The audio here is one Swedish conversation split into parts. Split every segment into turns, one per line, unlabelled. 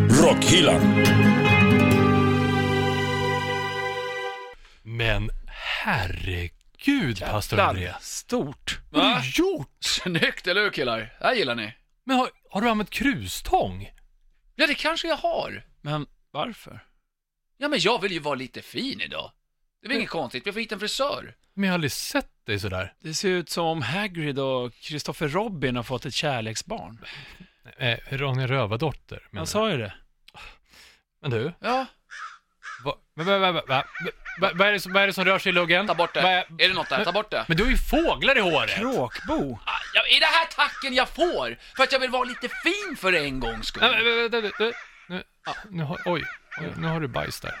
Rockhyllan.
Men herregud, pastor
Jävlar,
André.
Stort.
Vad har
Va?
du gjort?
Snyggt, eller hur killar? Det här gillar ni.
Men har, har du använt krustång?
Ja, det kanske jag har.
Men varför?
Ja, men jag vill ju vara lite fin idag. Det är väl inget konstigt, vi får hit en frisör.
Men jag har aldrig sett dig sådär.
Det ser ut som om Hagrid och Christopher Robin har fått ett kärleksbarn.
Eh, Ronja Rövardotter, men,
Han
Alltså-
sa ju det.
men du?
Ja,
Va, men, men, men, men, men, vad, vad, är det som, vad är det som rör sig i luggen?
ta bort det.
Vad är-
Är det något där? Ta bort det.
Men du har ju fåglar i håret!
Kråkbo.
Ah, Ja, är det här tacken jag får? För att jag vill vara lite fin för en gångs skull?
Nej, men, men, vänta, vänta, vänta. nu, ah, nu har, oj, oj, nu har du bajs där.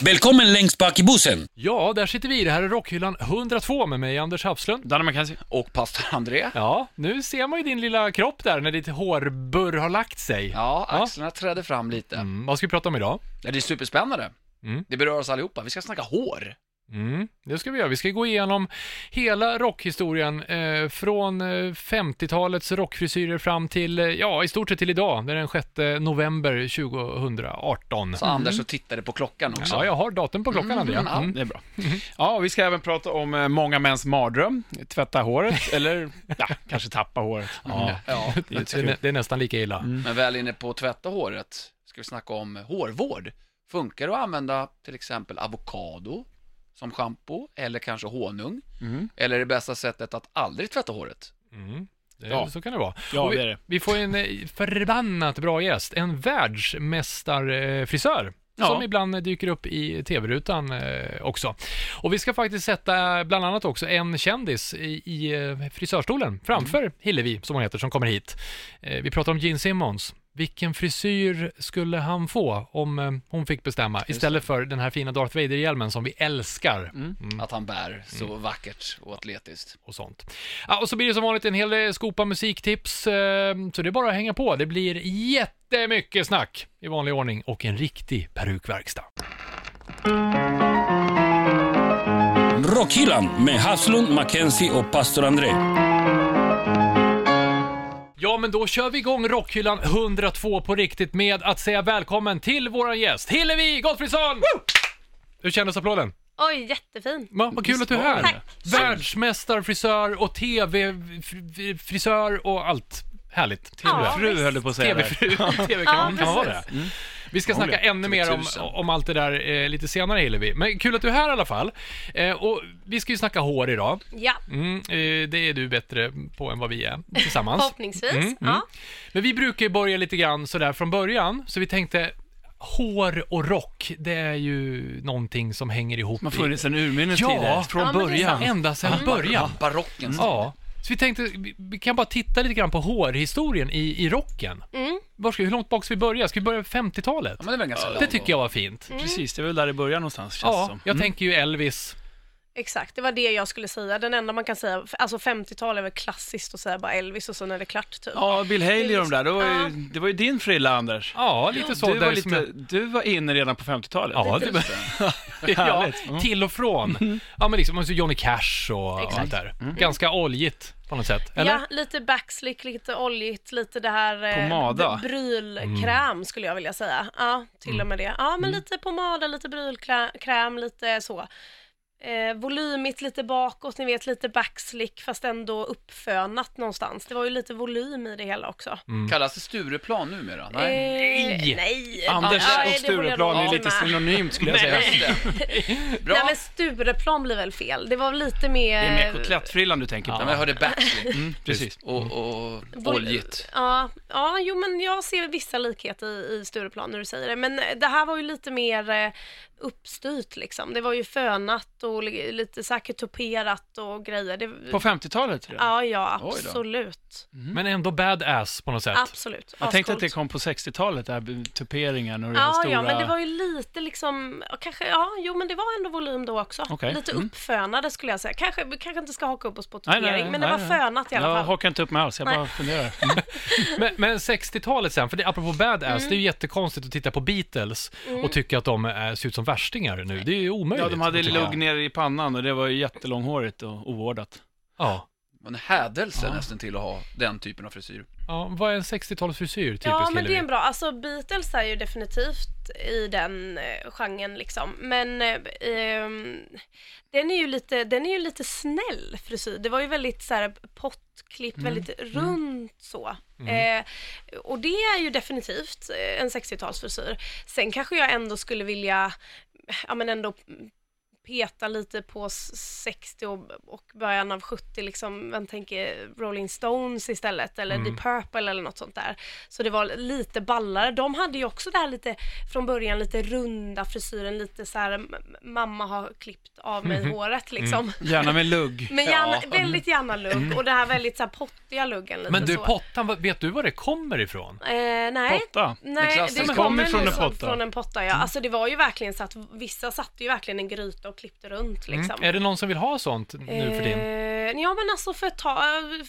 Välkommen längst bak i bussen.
Ja, där sitter vi. Det här är Rockhyllan 102 med mig, Anders Hafslund.
Danne McKenzie.
Och pastor André?
Ja, nu ser man ju din lilla kropp där när ditt hårburr har lagt sig.
Ja, axlarna trädde fram lite.
Mm, vad ska vi prata om idag?
Ja, det är superspännande.
Mm.
Det berör oss allihopa. Vi ska snacka hår.
Mm, det ska vi göra. Vi ska gå igenom hela rockhistorien eh, från eh, 50-talets rockfrisyrer fram till, eh, ja, i stort sett till idag. Det är den 6 november 2018.
Så Anders och tittade på klockan också.
Mm. Ja, jag har datum på klockan, Andrea.
ja.
Mm.
Det är bra. Ja, och vi ska även prata om eh, många mäns mardröm. Tvätta håret, eller ja, kanske tappa håret.
Ja.
Ja,
Det är inte så
Det, är,
kul.
nä- det är nästan lika illa.
Men väl inne på att tvätta håret ska vi snacka om hårvård. Funkar det att använda till exempel avokado som shampoo eller kanske honung?
Mm.
Eller är det bästa sättet att aldrig tvätta håret?
Mm. Det,
Ja.
Så kan det vara.
Ja,
Och vi,
det är det.
vi får en eh, förbannat bra gäst, en världsmästarfrisör.
Ja.
Som ibland dyker upp i tv-rutan eh, också. Och vi ska faktiskt sätta bland annat också en kändis i, i eh, frisörstolen framför Hillevi, som hon heter, som kommer hit. Eh, vi pratar om Gene Simmons. Vilken frisyr skulle han få om eh, hon fick bestämma? Istället för den här fina Darth Vader-hjälmen som vi älskar. Mm.
Att han bär så vackert och atletiskt.
och sånt. Ja, och så blir det som vanligt en hel eh, skopa musiktips, eh, så det är bara att hänga på. Det blir jättemycket snack i vanlig ordning och en riktig perukverkstad.
Rockhyllan med Haslund, Mackenzie och pastor André.
Ja, men då kör vi igång Rockhyllan 102 på riktigt med att säga välkommen till våran gäst Hillevi Gottfridsson! Hur kändes applåden?
Oj, jättefin.
Va, vad kul att du är här!
Tack.
Världsmästare, frisör och TV-frisör och allt härligt.
Ja,
Fru
visst.
höll du på att säga där.
TV-fru, TV kan, man,
Ja,
kan man vara det.
precis.
Mm. Vi ska snacka ännu mer om,
2000.
om allt det där eh, lite senare Hillevi. Men kul att du är här i alla fall. Eh, och vi ska ju snacka hår idag.
Ja,
Mm, eh, det är du bättre på än vad vi är tillsammans.
förhoppningsvis.
Mm, mm.
Ja.
Men vi brukar ju börja lite grann sådär från början, så vi tänkte hår och rock, det är ju någonting som hänger ihop.
Man har
i-
funnits sedan urminnes
Ja.
tider.
Ja,
Från
men det är
början.
Ända sedan början.
Barockens
Ja. Så vi tänkte, vi- vi kan bara titta lite grann på hårhistorien i, i rocken.
Mm.
Var ska, hur långt bak ska vi börja? Ska vi börja med 50-talet?
Ja, men det är väl ganska
Det tycker jag var fint.
Mm.
Precis, det är väl där i början någonstans, känns det
Ja,
som.
jag tänker ju Elvis.
Exakt, det var det jag skulle säga. Den enda man kan säga, alltså 50-tal är väl klassiskt att säga bara Elvis och sen är det klart typ.
Ja, Bill Haley och de där, det var
Ja.
ju, det var ju din frilla, Anders.
Ja, lite så.
Du
där
var,
som
lite, du var inne redan på 50-talet.
Ja, det, ja,
Härligt. Mm. Mm.
till och från. Ja, men liksom och så Johnny Cash och, och
Exakt.
allt där. Ganska oljigt på något sätt, eller?
Ja, lite backslick, lite oljigt, lite det här eh,
Pomada.
b- brylkräm
Mm.
skulle jag vilja säga. Ja, till och med det. Ja, men lite pomada, lite brylkräm, lite så. Eh, volymigt lite bakåt, ni vet lite backslick fast ändå uppfönat någonstans. Det var ju lite volym i det hela också.
Mm.
Kallas det Stureplan numera? Nej.
Eh, Nej!
Nej.
nej.
Anders
Ja,
och
det håller jag
Stureplan är
nog
lite
med.
synonymt skulle jag säga.
Just det. Bra.
Nej men Stureplan blir väl fel. Det var lite mer...
Det är mer kotlettfrillan du tänker på.
Ja, men jag hörde backslick
Mm.
Precis.
och, och
Vol-
oljigt.
Ja, ja, jo men jag ser vissa likheter i, i Stureplan när du säger det. Men eh, det här var ju lite mer eh, uppstyrt liksom. Det var ju fönat och li- lite säkert tuperat och grejer. Det,
På 50-talet? redan?
ja, ja
Oj då.
absolut.
Mm.
Men ändå badass på något sätt.
Absolut.
Jag tänkte att
Ascoolt.
det kom på 60-talet, det här med tuperingen och den
Ja,
stora...
ja, men det var ju lite liksom, ja, kanske, ja, jo men det var ändå volym då också.
Okej.
Lite
Mm.
uppfönade skulle jag säga. Kanske, vi kanske inte ska haka upp oss på
Nej, nej,
tupering,
nej,
men det
nej,
var
nej.
fönat i alla
Jag
fall.
hakar inte upp mig alls, jag bara funderar. Mm.
Men, men 60-talet sen, för det, apropå badass,
Mm.
det är ju jättekonstigt att titta på Beatles och tycka att de äh, ser ut som värstingar nu. Det är ju omöjligt.
Ja, de hade
tycker jag.
lugg ner i pannan och det var ju jättelånghårigt och ovårdat.
Ja.
var en hädelse
Ja.
nästan till att ha den typen av frisyr.
Ja, vad är en 60-talsfrisyr typiskt
Ja, men det
Hillevi?
är en bra. Alltså Beatles är ju definitivt i den eh, genren liksom. Men eh, ehm, den, är ju lite, den är ju lite snäll frisyr. Det var ju väldigt så här pottklippt, väldigt runt så. Eh, och det är ju definitivt eh, en 60-talsfrisyr. Sen kanske jag ändå skulle vilja, ja men ändå peta lite på s- 60 och, och början av 70, liksom, man tänker Rolling Stones istället, eller Deep Purple eller något sånt där. Så det var lite ballare. De hade ju också det här lite, från början lite runda frisyren, lite så här, m- m- mamma har klippt av mig håret liksom.
Gärna med lugg.
Men gärna,
Ja.
väldigt gärna lugg, och det här väldigt så här pottiga luggen lite
Men du,
så.
pottan, vad- vet du var det kommer ifrån?
Eh, nej.
Potta.
Den
Nej,
klassiska.
det
Men
kommer
kommer från en
liksom
potta.
från en potta. Ja. Alltså det var ju verkligen så att vissa satte ju verkligen en gryta och klippte runt liksom.
Är det någon som vill ha sånt nu för din?
Eh, ja men alltså för, ett tag,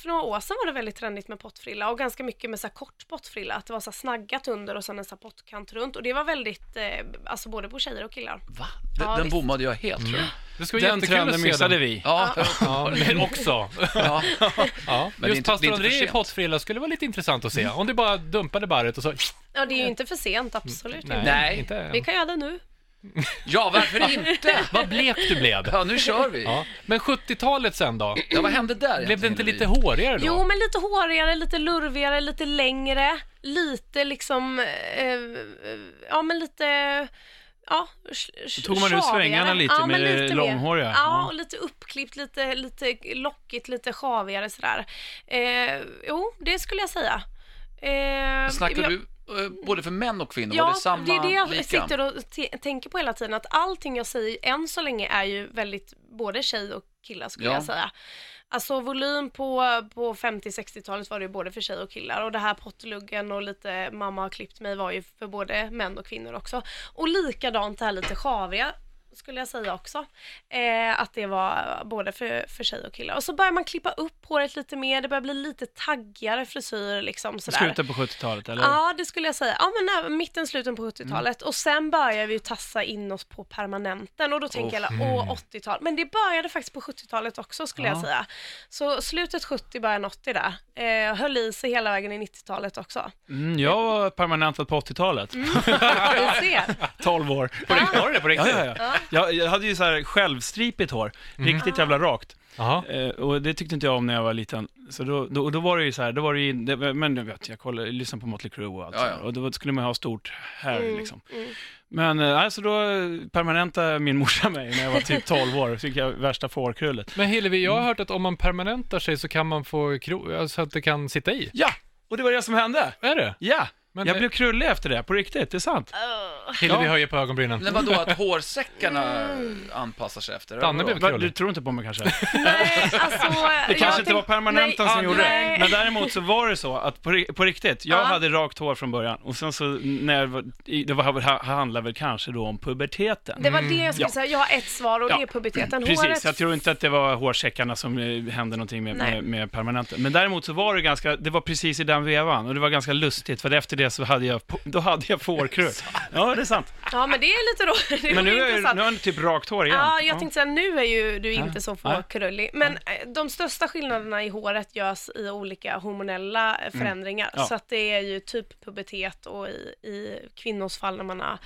för några år sedan var det väldigt trendigt med pottfrilla och ganska mycket med så här kort pottfrilla. Att det var så här snaggat under och sen en så här pottkant runt. Och det var väldigt, eh, alltså både på tjejer och killar.
Va? Den,
Ja,
den
visst.
bommade jag helt tror jag.
Det ska vara
Den
jättekul att
trenden
se
missade
den.
vi.
Ja,
Ja, men också.
ja.
Ja.
det är
Just
inte-
pastor
det är inte för
André i
sent.
pottfrilla skulle vara lite intressant att se. Om du bara dumpade barret och så...
Ja det är ju inte för sent,
Eh,
absolut
Nej,
inte.
Nej.
inte
Vi
än.
kan göra det nu.
ja, varför inte?
Vad blek du blev.
Ja, nu kör vi.
Ja. Men 70-talet sen då?
Ja, vad hände där?
Blev det
egentligen,
inte
Hillevi?
lite hårigare då?
Jo men lite hårigare, lite lurvigare, lite längre, lite liksom, eh, eh, ja men lite Ja, sh-
Tog man ut
sjavigare.
svängarna lite
ja,
med
men
det
lite mer.
långhåriga?
Ja,
Ja.
och lite uppklippt, lite, lite lockigt, lite sjavigare sådär. Eh, jo, det skulle jag säga. Eh,
Snackar
jag-
du eh, både för män och kvinnor? var
Ja,
det samma
det är det jag
lika?
sitter och t- tänker på hela tiden. Att allting jag säger än så länge är ju väldigt både tjej och killar skulle
Ja.
jag säga. Alltså volym på, på 50-60-talet var det ju både för tjej och killar och det här pottluggen och lite mamma har klippt mig var ju för både män och kvinnor också. Och likadant det här lite sjaviga skulle jag säga också. Eh, att det var både för, för tjej och killar. Och så börjar man klippa upp håret lite mer, det börjar bli lite taggigare frisyr liksom sådär.
Slutet på 70-talet, eller?
Ja, det skulle jag säga. Ja, men när, mitten, sluten
Mm.
på 70-talet. Och sen börjar vi ju tassa in oss på permanenten. Och då tänker alla,
mm.
åh, 80-tal. Men det började faktiskt på 70-talet också, skulle jag säga. Så slutet 70, början 80 där. Eh, höll i sig hela vägen i 90-talet också.
Mm, jag var permanentad på 80-talet.
Mm. Vi ser.
12 år.
På riktigt? Var det det på
Ja,
riktigt?
ja, ja. Jag, jag hade ju så här självstripigt hår, riktigt jävla rakt.
Jaha.
Eh, och det tyckte inte jag om när jag var liten. Så då, då, och då var det ju så här, då var det ju, det, var- men jag vet, jag kollade, lyssnade på Motley Crue och allt
Ja,
så
ja.
här. Och då skulle man ju ha stort här liksom. Men eh, alltså då permanentade min morsa mig när jag var typ 12 år, så fick jag värsta fårkrullet.
Men Hillevi, jag har hört att om man permanentar sig så kan man få kro- alltså att det kan sitta i.
Ja, och det var det som hände.
Är det?
Ja,
Men
jag
det-
blev krullig efter det, på riktigt, det är sant.
Hillevi
Ja.
höjer på ögonbrynen.
Men vadå, att hårsäckarna
Mm.
anpassar sig efter?
Danne
Vadå?
blev-
Va,
krullig.
Du tror inte på mig kanske?
Nej, alltså,
Det
jag
kanske inte var
tänk-
permanenten
nej,
som gjorde
nej.
det. Men däremot så var det så att på, ri- på riktigt, jag
Ja.
hade rakt hår från början och sen så när jag var, i- det var, ha- handlade väl kanske då om puberteten.
Det var det jag skulle
Mm, Ja.
säga. Jag har ett svar och
Ja.
det är puberteten.
Precis,
Håret
jag tror inte att det var hårsäckarna som eh, hände någonting med,
Nej.
med, med permanenten. Men däremot så var det ganska, det var precis i den vevan och det var ganska lustigt för efter det så hade jag, po- då hade jag fårkrull. Ja, det är sant.
Ja, men det är lite roligt. Det
Men nu
är
är jag-
intressant.
nu har jag typ rakt hår igen.
Ja, jag tänkte säga nu är ju du inte så
Ja.
fårkrullig. Men eh, de största skillnaderna i håret görs i olika hormonella eh, förändringar.
Mm. Ja.
Så att det är ju typ pubertet och i, i kvinnors fall när man har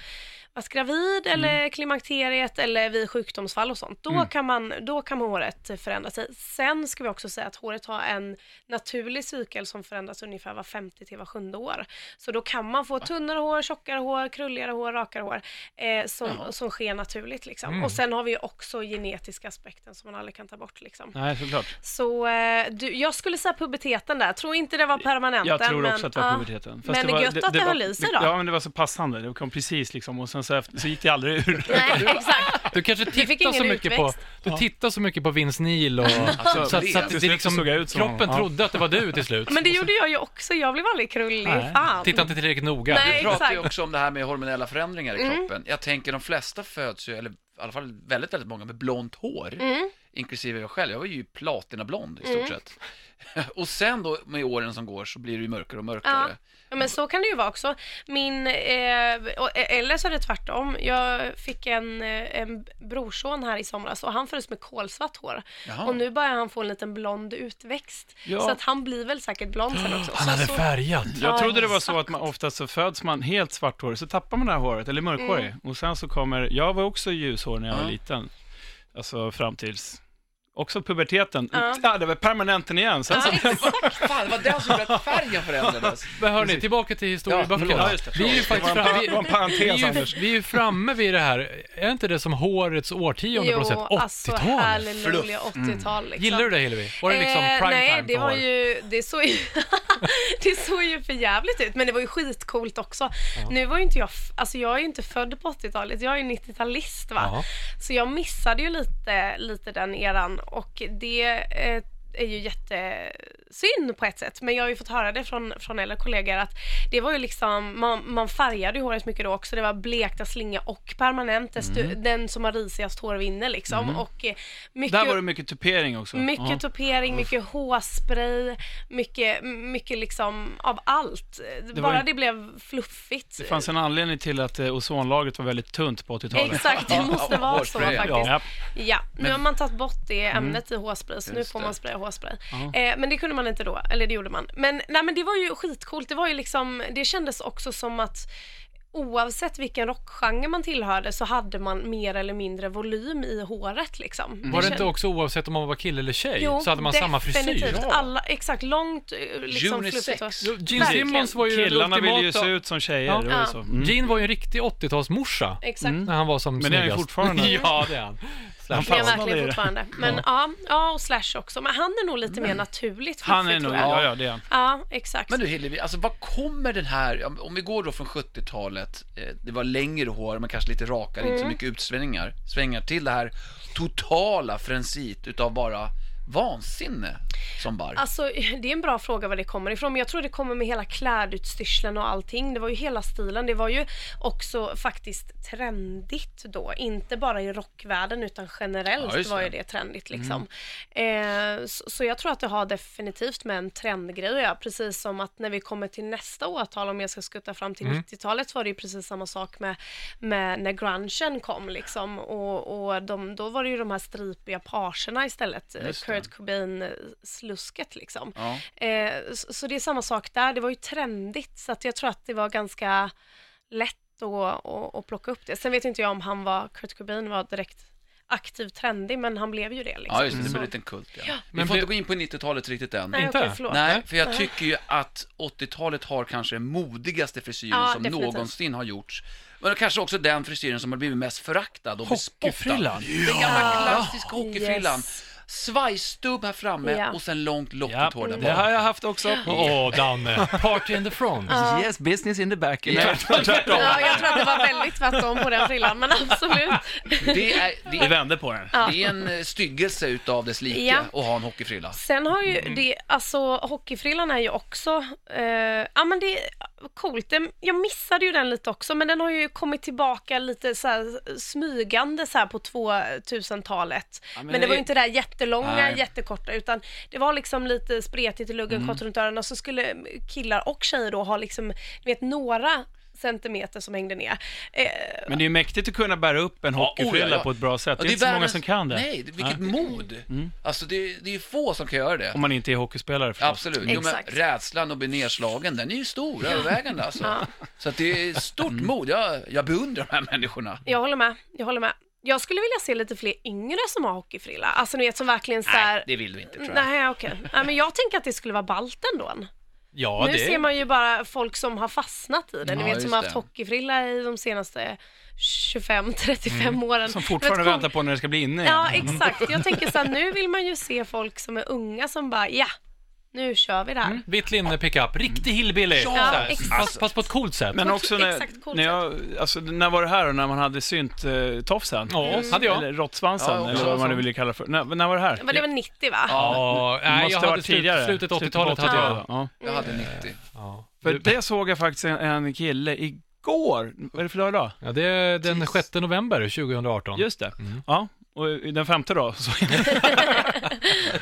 varit gravid
Mm.
eller klimakteriet eller vid sjukdomsfall och sånt. Då, kan man, då kan håret förändra sig. Sen ska vi också säga att håret har en naturlig cykel som förändras ungefär var femte till var sjunde år. Så då kan man få tunnare hår, tjockare hår, krulligare hår, rakare hår eh, som, som sker naturligt. Liksom.
Mm.
Och sen har vi ju också genetiska aspekten som man aldrig kan ta bort. Liksom.
Nej, såklart.
Så eh, du, jag skulle säga puberteten där. Tror inte det var permanenten.
Jag tror också
men,
att det var
ja.
puberteten.
men det
var,
är gött att det
var-
höll i sig
det-
då.
Ja, men det var så passande. Det kom precis liksom och sen så, efter, så gick det aldrig ur.
Nej, exakt.
Du kanske
fick
tittar så
ingen
mycket på,
utväxt.
du tittar så mycket på Vince Neil och
Alltså,
så, så, att- så att
Till
det
slut
liksom,
så såg jag ut som
kroppen
honom. Ja.
trodde att det var du till slut.
Men det gjorde jag ju också. Jag blev aldrig krullig.
Nej.
Fan.
Titta inte tillräckligt noga.
Nej.
Vi pratar ju
Exakt. Mm.
också om det här med hormonella förändringar i kroppen. Jag tänker de flesta föds ju, eller i alla fall
Mm.
väldigt, väldigt många med blont hår. Inklusive jag själv, jag var ju platinablond i stort sett. Och sen då med åren som går så blir det ju mörkare och mörkare.
Ja, men så kan det ju vara också. Min, eh, och- eller så är det tvärtom. Jag fick en, eh, en brorson här i somras och han föddes med kolsvart hår.
Jaha.
Och nu börjar han få en liten blond utväxt.
Ja.
Så att han blir väl säkert blond sen också.
Han
Så-
hade
så-
färgat.
Ja,
Jag trodde det var så
exakt.
att man oftast så föds man helt svarthårig, så tappar man det här håret, eller mörkhårig.
Mm.
Och sen så kommer, jag var också ljushårig när jag
Ja.
var liten. Alltså fram tills, också puberteten.
Ja.
Ja. det var permanenten igen. Sen så,
Ja, exakt.
Fan, det var den som gjorde att färgen förändrades.
Men hörni, tillbaka till historieböckerna.
Ja, just det.
vi är ju faktiskt
det, var
framme,
en, det var en
vi,
parentes,
vi, är ju,
Anders.
vi är ju framme vid det här. Är inte det som hårets årtionde på något sätt? 80-tal?
alltså halleluja,
Mm.
80-tal liksom.
Gillar du det Hillevi? Var det liksom
Eh,
prime
Nej,
time
det
för
var
hår?
ju, det såg ju, det såg ju för jävligt ut, men det var ju skitcoolt också. Nu var ju inte jag, f- alltså jag är ju inte född på 80-talet, jag är ju 90-talist va.
Ja.
Så jag missade ju lite, lite den eran och det eh, är ju jättesynd på ett sätt. Men jag har ju fått höra det från, från äldre kollegor att det var ju liksom, man, man färgade ju håret mycket då också. Det var blekta slingor och permanent. Desto,
Mm.
Den som har risigast hår vinner liksom. Och eh, mycket,
Där var det mycket tupering också.
mycket
Ja.
topering, mycket hårspray, mycket, mycket liksom av allt. Bara
ju-
det blev fluffigt.
Det fanns en anledning till att eh, ozonlagret var väldigt tunt på 80-talet.
Exakt, det måste vara så
Hårspray,
faktiskt.
ja.
Ja.
Ja.
nu har man tagit bort det ämnet i hårspray, så nu
Just
får
det.
man spraya hårspray. Eh, men det kunde man inte då, eller det gjorde man. Men, nej, men det var ju skitcoolt, det var ju liksom, det kändes också som att oavsett vilken rockgenre man tillhörde så hade man mer eller mindre volym i håret liksom.
Var det
känd-
inte också oavsett om man var kille eller tjej?
Jo,
så hade man samma frisyr?
definitivt. Alla, exakt, långt eh, liksom
Unisex.
fluffigt hår.
Jo, Gene
Verkligen.
Simmons var ju den
Killarna ville ju se
ultimata-
ut som tjejer,
Ja.
det var
Ja.
ju så. Mm.
Gene var ju en riktig 80-talsmorsa.
Exakt.
Mm. När han var som
Men det är han ju
snyggast.
fortfarande.
ja, det är han.
Han
Det är
fastnade i
verkligen
det.
fortfarande. Men ja. ja, och Slash också. Men han är nog lite mer naturligt
Han är
fluffig,
nog,
tror jag.
ja, ja det är han.
Ja, exakt.
Men du Hillevi, alltså vad kommer den här, om- om vi går då från 70-talet, eh, det var längre hår men kanske lite rakare, inte så
Mm.
mycket utsvängningar, svängar till det här totala frensit utav bara vansinne som bar.
Alltså, det är en bra fråga var det kommer ifrån, men jag tror det kommer med hela klädutstyrseln och allting. Det var ju hela stilen. Det var ju också faktiskt trendigt då, inte bara i rockvärlden utan generellt
Ja, just
var ju
det. Mm.
det trendigt liksom. Eh, så, så jag tror att det har definitivt med en trendgrej att göra, precis som att när vi kommer till nästa årtal, om jag ska skutta fram
Mm.
till 90-talet, var det ju precis samma sak med, med när grungen kom liksom. Och, och de, då var det ju de här stripiga parserna istället,
Just det.
Kurt Cobain-slusket liksom.
Ja.
Eh, så, så det är samma sak där, det var ju trendigt så att jag tror att det var ganska lätt att, att, att plocka upp det. Sen vet inte jag om han var, Kurt Cobain var direkt aktiv trendig men han blev ju det liksom.
Ja, just det, det
Så-
blir en liten kult ja. Vi
Men
får
blev-
inte gå in på 90-talet riktigt än.
Nej,
Inte?
okej, förlåt.
Nej, för jag tycker ju att 80-talet har kanske den modigaste frisyren
Ja,
som
definitivt.
någonsin har gjorts. Men kanske också den frisyren som har blivit mest föraktad och bespottad.
Hockeyfrillan.
Den gamla klassiska hockeyfrillan.
Yes.
Svajstubb här framme
Ja.
och sen långt lockigt
Ja,
hår där
det har
bak.
jag haft också.
Åh, Danne. Party in the front.
Yes, business in the back.
Ja, jag tror att det var väldigt tvärtom på den frillan men absolut.
Det är, det,
Vi
är,
vände på den.
det är en eh, styggelse utav dess like
Ja.
att ha en hockeyfrilla.
Sen har ju
Mm.
det, alltså hockeyfrillan är ju också, eh, ja men det är coolt. Den, jag missade ju den lite också, men den har ju kommit tillbaka lite så här, smygande så här på 2000-talet.
men
men, det
det
var ju
är-
inte det där jättelånga,
Nej. Mm.
jättekorta, utan det var liksom lite spretigt i luggen, kort runt öronen och så skulle killar och tjejer då ha liksom, ni vet några centimeter som hängde ner. Eh,
Men det är ju mäktigt att kunna bära upp en hockeyfrilla på ett bra sätt.
Ja,
det är inte så många
världens-
som kan det. Mm.
Nej, det- vilket mod. Alltså det, det är ju få som kan göra det.
Om man inte är hockeyspelare förstås.
Absolut. Jo, men
Exakt.
rädslan att bli nerslagen, den är ju stor, övervägande alltså. Så att det är stort
Mm.
mod. Jag, jag beundrar de här människorna.
Jag håller med, jag håller med. Jag skulle vilja se lite fler yngre som har hockeyfrilla, alltså ni vet som verkligen så här...
Nej, det vill du inte tror jag.
Nej, okej. Nej, men jag tänker att det skulle vara ballt ändå.
Ja,
nu
det
ser man ju bara folk som har fastnat i det. Ni
Ja,
vet
just
som har
det.
haft hockeyfrilla i de senaste 25-35 åren.
Som fortfarande
Du vet,
väntar på när det ska bli inne igen.
Ja, exakt. Jag tänker så här, nu vill man ju se folk som är unga som bara, ja, nu kör vi det här.
Vitt linne pickup. Riktig hillbilly.
Ja,
Så här,
exakt.
Fast, fast på ett coolt sätt.
Men
På ett
också när,
exakt coolt
när jag, alltså, när var det här och när man hade synt eh, tofsen?
Ja, Mm. hade jag.
Eller råttsvansen,
Ja,
eller
också.
vad man nu vill kalla det för. När, när var det här?
Men det var 90 va?
Ja, nej, jag
måste ha
hade
varit
slut,
tidigare.
slutet
på
80-talet hade jag.
80-talet, Ja.
Jag hade
Mm.
90.
Ja.
För det såg jag faktiskt en, en kille igår. Vad är det för dag idag?
Ja, det är den 6 november 2018.
Just det. Ja, Och eh, den femte då, så...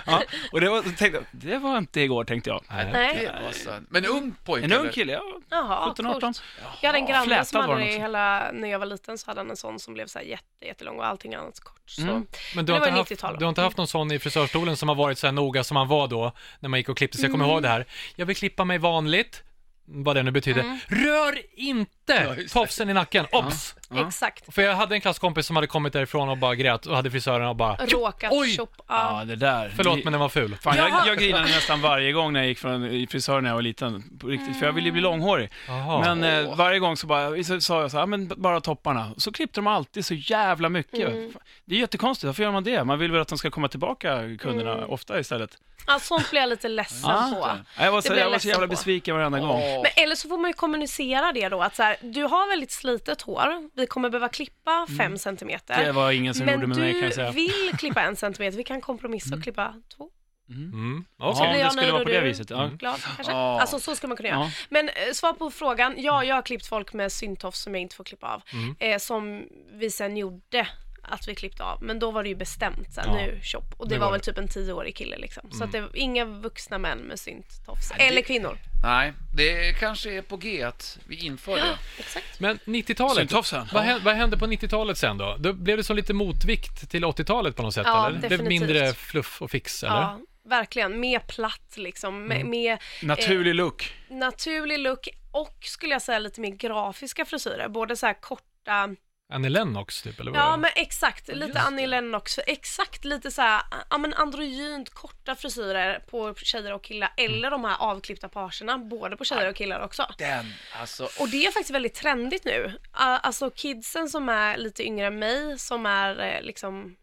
ja, och det var, då tänkte jag, det var inte igår, tänkte jag.
Nej.
Nej.
Det var så- Men ung pojke?
En ung
eller?
kille, ja,
Jaha,
17, 18.
coolt. Jag hade en granne som
Flätad var den
hade det
också.
hela, när jag var liten så hade han en sån som blev så här jätte, jättelång och allting annat så kort. Så.
Mm.
Men du har,
Det var
inte haft,
90-tal.
du har inte haft någon sån i frisörstolen som har varit så här noga som man var då, när man gick och klippte sig. Jag kommer
Mm.
ihåg det här. Jag vill klippa mig vanligt, vad det nu betyder.
Mm.
Rör inte
just det.
tofsen i nacken, obs!
Exakt.
För jag hade en klasskompis som hade kommit därifrån och bara grät och hade frisören och bara
Råkat
Oj!
shoppa.
Ja, det där.
Förlåt men den var ful.
Fan,
Jaha.
jag, jag grinade nästan varje gång när jag gick från i frisören när jag var liten, på riktigt, för jag ville ju bli långhårig.
Jaha.
Men eh, varje gång så, bara, så sa jag så här, "Ah, men b- bara topparna. Så klippte de alltid så jävla mycket. Fan, Det är jättekonstigt, varför gör man det? Man vill väl att de ska komma tillbaka, kunderna, ofta istället.
Ja, sånt blir jag lite ledsen på.
Ja, jag var
Det
så,
blir
jag var så
ledsen
jävla
på.
besviken varenda gång.
Åh.
Men, eller så får man ju kommunicera det då, att så här, du har väldigt slitet hår, vi kommer behöva klippa fem centimeter.
Mm. Det var ingen som
men
gjorde med
du
mig kan jag säga.
vill klippa en centimeter, vi kan kompromissa och klippa två.
Mm.
Ja,
Okej.
blir
om
jag
det skulle
nöjd
vara
och
på det
du-
viset. Ja.
Glad kanske?
Ja.
Alltså så skulle man kunna göra.
Ja. Mm.
Men eh, svar på frågan, ja, jag har klippt folk med syntofs som jag inte får klippa av. Eh, som vi sen gjorde att vi klippte av. Men då var det ju bestämt så här,
Ja.
nu shop. Och det,
Det
var,
var
väl
det.
typ en tioårig kille liksom. Så
Mm.
att det var inga vuxna män med syntofs.
det-
Eller kvinnor.
Nej, det kanske är på G att vi inför det.
Exakt.
Men 90-talet,
Syntofsen.
vad hände, vad hände på 90-talet sen då? Då blev det som lite motvikt till 80-talet på något sätt
Ja,
eller? Det blev
definitivt.
mindre fluff och fix eller?
Ja, verkligen. Mer platt liksom. Med, med Eh.
Naturlig look.
naturlig look och skulle jag säga lite mer grafiska frisyrer. Både så här korta
Annie Lennox typ eller vad var
Ja
det?
men exakt, lite Annie Lennox, exakt lite så här, ja men androgynt korta frisyrer på tjejer och killar eller de här avklippta parserna både på tjejer och killar också.
Den, alltså.
Och det är faktiskt väldigt trendigt nu. Uh, Alltså kidsen som är lite yngre än mig, som är eh, liksom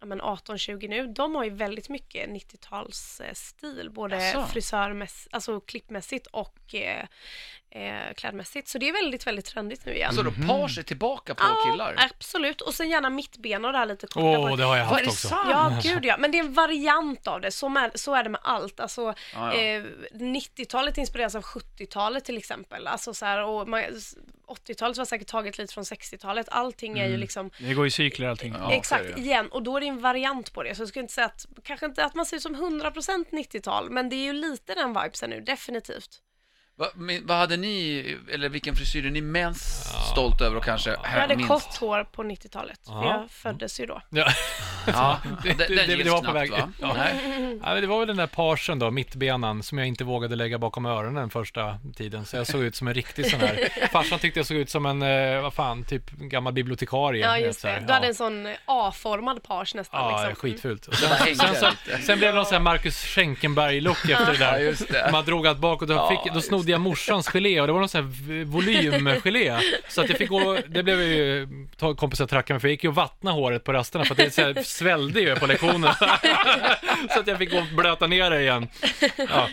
ja, men 18-20 nu, de har ju väldigt mycket 90-talsstil, både
Asså.
frisörmässigt, alltså klippmässigt och eh, eh, klädmässigt. Så det är väldigt, väldigt trendigt nu igen.
Så då alltså, par sig tillbaka på killar?
Ja, alltså- absolut. Och sen gärna mittben och det här lite korta.
Åh,
bara-
det har jag
Vad är
haft
det
också.
sant?
Ja, gud ja. Men det är en variant av det. Så är, så är det med allt. Alltså,
Ja, ja.
eh, 90-talet inspireras av 70-talet till exempel. Alltså, så här, och man, 80-talet var säkert taget lite från 60-talet. Allting är ju liksom
Det går i cykler allting.
Mm. Ja. så är
Exakt,
det.
igen. Och då är det en variant på det. Så jag skulle inte säga att, kanske inte att man ser ut som 100% 90-tal, men det är ju lite den vibesen nu, definitivt.
Va, men, vad hade ni, eller vilken frisyr är ni mest stolt över och kanske
Jag hade
Äh, minst?
kort hår på 90-talet, för
Ja.
jag föddes ju då.
Ja.
Ja,
Det-
den,
det-
den
det
gills
var på
knappt
väg-
va?
Ja.
Nej.
Ja, men det var väl den där parsen då, mittbenan, som jag inte vågade lägga bakom öronen första tiden. Så jag såg ut som en riktig sån här. Farsan tyckte jag såg ut som en, eh, vad fan, typ gammal bibliotekarie.
Ja, just
Så här,
det. Du hade en sån A-formad page nästan.
Ja,
liksom.
skitfult. Och
bara
Sen,
hängde
sen, så,
lite.
sen blev det någon sån här Marcus Schenkenberg-look efter det där.
Ja, just det.
Man drog allt bak och då,
Ja,
fick, då
just
snodde jag morsans gelé och det var någon sån här v- volymgelé. Så att jag fick gå, det blev jag ju ta- kompisar trackade mig för jag gick ju och vattna håret på rasterna för att det så här, svällde ju på lektionerna. så att jag fick gå och blöta ner det igen. Ja,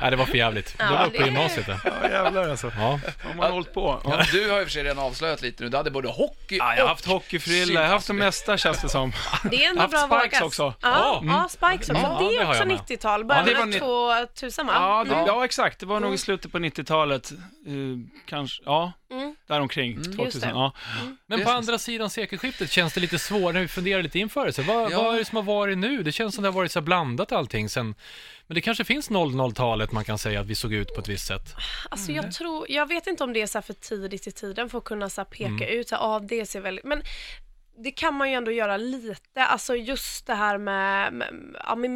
Nej, det var för jävligt.
Ja,
det var på
det-
gymnasiet det.
Ja, jävlar alltså.
Ja.
Har man hållit på. Ja.
Ja, Du har ju för sig redan avslöjat lite nu, du hade både hockey
Ja, jag har haft hockeyfrilla, jag har haft det mesta känns det som.
Det är ändå
Haft
bra
spikes
vågat.
också.
Ja,
Ja, mm.
ja spikes också.
Ja,
det
det
är
har
också
jag med.
90-tal,
Ja, det var
början
ni-
av 2000 va?
Ja, det,
Mm.
ja exakt. Det var nog i slutet på 90-talet. Uh, kanske, ja,
Mm.
däromkring.
Just
2000.
det.
Ja.
Men på
Precis.
andra sidan sekelskiftet känns det lite svårare, vi funderar lite inför det. Så vad,
Ja.
vad är det som har varit nu? Det känns som det har varit så här blandat allting sen. Men det kanske finns 00-talet man kan säga att vi såg ut på ett visst sätt.
Alltså jag tror, jag vet inte om det är så här för tidigt i tiden för att kunna så här peka ut, så här, ah, det ser väldigt, men det kan man ju ändå göra lite, alltså just det här med, med, ja, med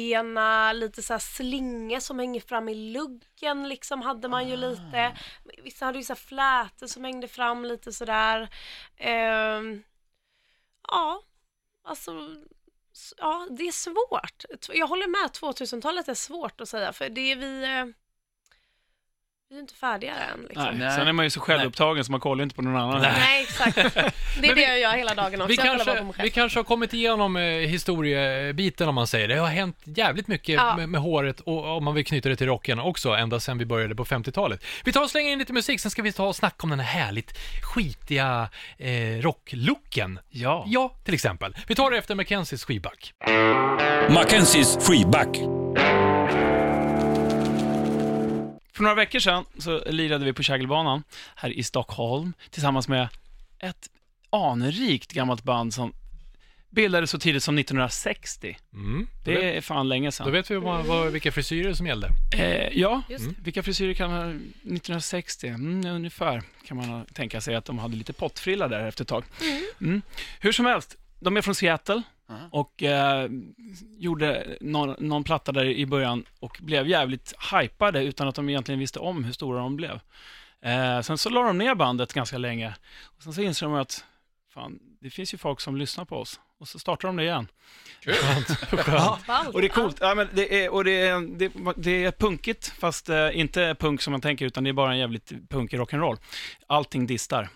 mittbena, lite så här slinga som hänger fram i luggen liksom hade man ju
Ah.
lite. Vissa hade ju så här flätor som hängde fram lite sådär. Ehm, ja, alltså s- ja, det är svårt. T- Jag håller med, 2000-talet är svårt att säga för det är vi, eh, vi är ju inte färdiga än liksom.
Nej.
Nej.
Nej.
Sen är man ju så självupptagen så man kollar inte på någon annan.
exakt. Det är det jag gör hela dagen också.
Vi
jag kollar bara på
kanske,
mig själv.
vi kanske har kommit igenom eh, historiebiten om man säger det. Det har hänt jävligt mycket
Ja.
med, med håret och om man vill knyta det till rocken också, ända sedan vi började på 50-talet. Vi tar och slänger in lite musik, sen ska vi ta och snacka om den här härligt skitiga eh, rocklooken.
Ja.
Ja, till exempel. Vi tar det efter Mackenzies skivback.
Mackenzies freeback.
För några veckor sedan så lirade vi på Kägelbanan här i Stockholm tillsammans med ett anrikt gammalt band som bildades så tidigt som 1960.
Mm. Då vet-
Det är fan länge
Då
sedan.
vet vi vad, vad, vilka frisyrer som gällde.
Eh, ja,
Just det.
vilka frisyrer kan man... 1960, mm, ungefär kan man ha- tänka sig att de hade lite pottfrilla där efter ett tag. Mm. Hur som helst, de är från Seattle
Aha.
och eh, gjorde någon, någon platta där i början och blev jävligt hypade utan att de egentligen visste om hur stora de blev. Eh, sen så la de ner bandet ganska länge och sen så insåg de att fan, det finns ju folk som lyssnar på oss och så startar de det igen.
Ballt.
Och det är coolt. Ja, men det, är, och det, är, det, det är punkigt, fast eh, inte punk som man tänker, utan det är bara en jävligt punkig rock'n'roll. Allting distar.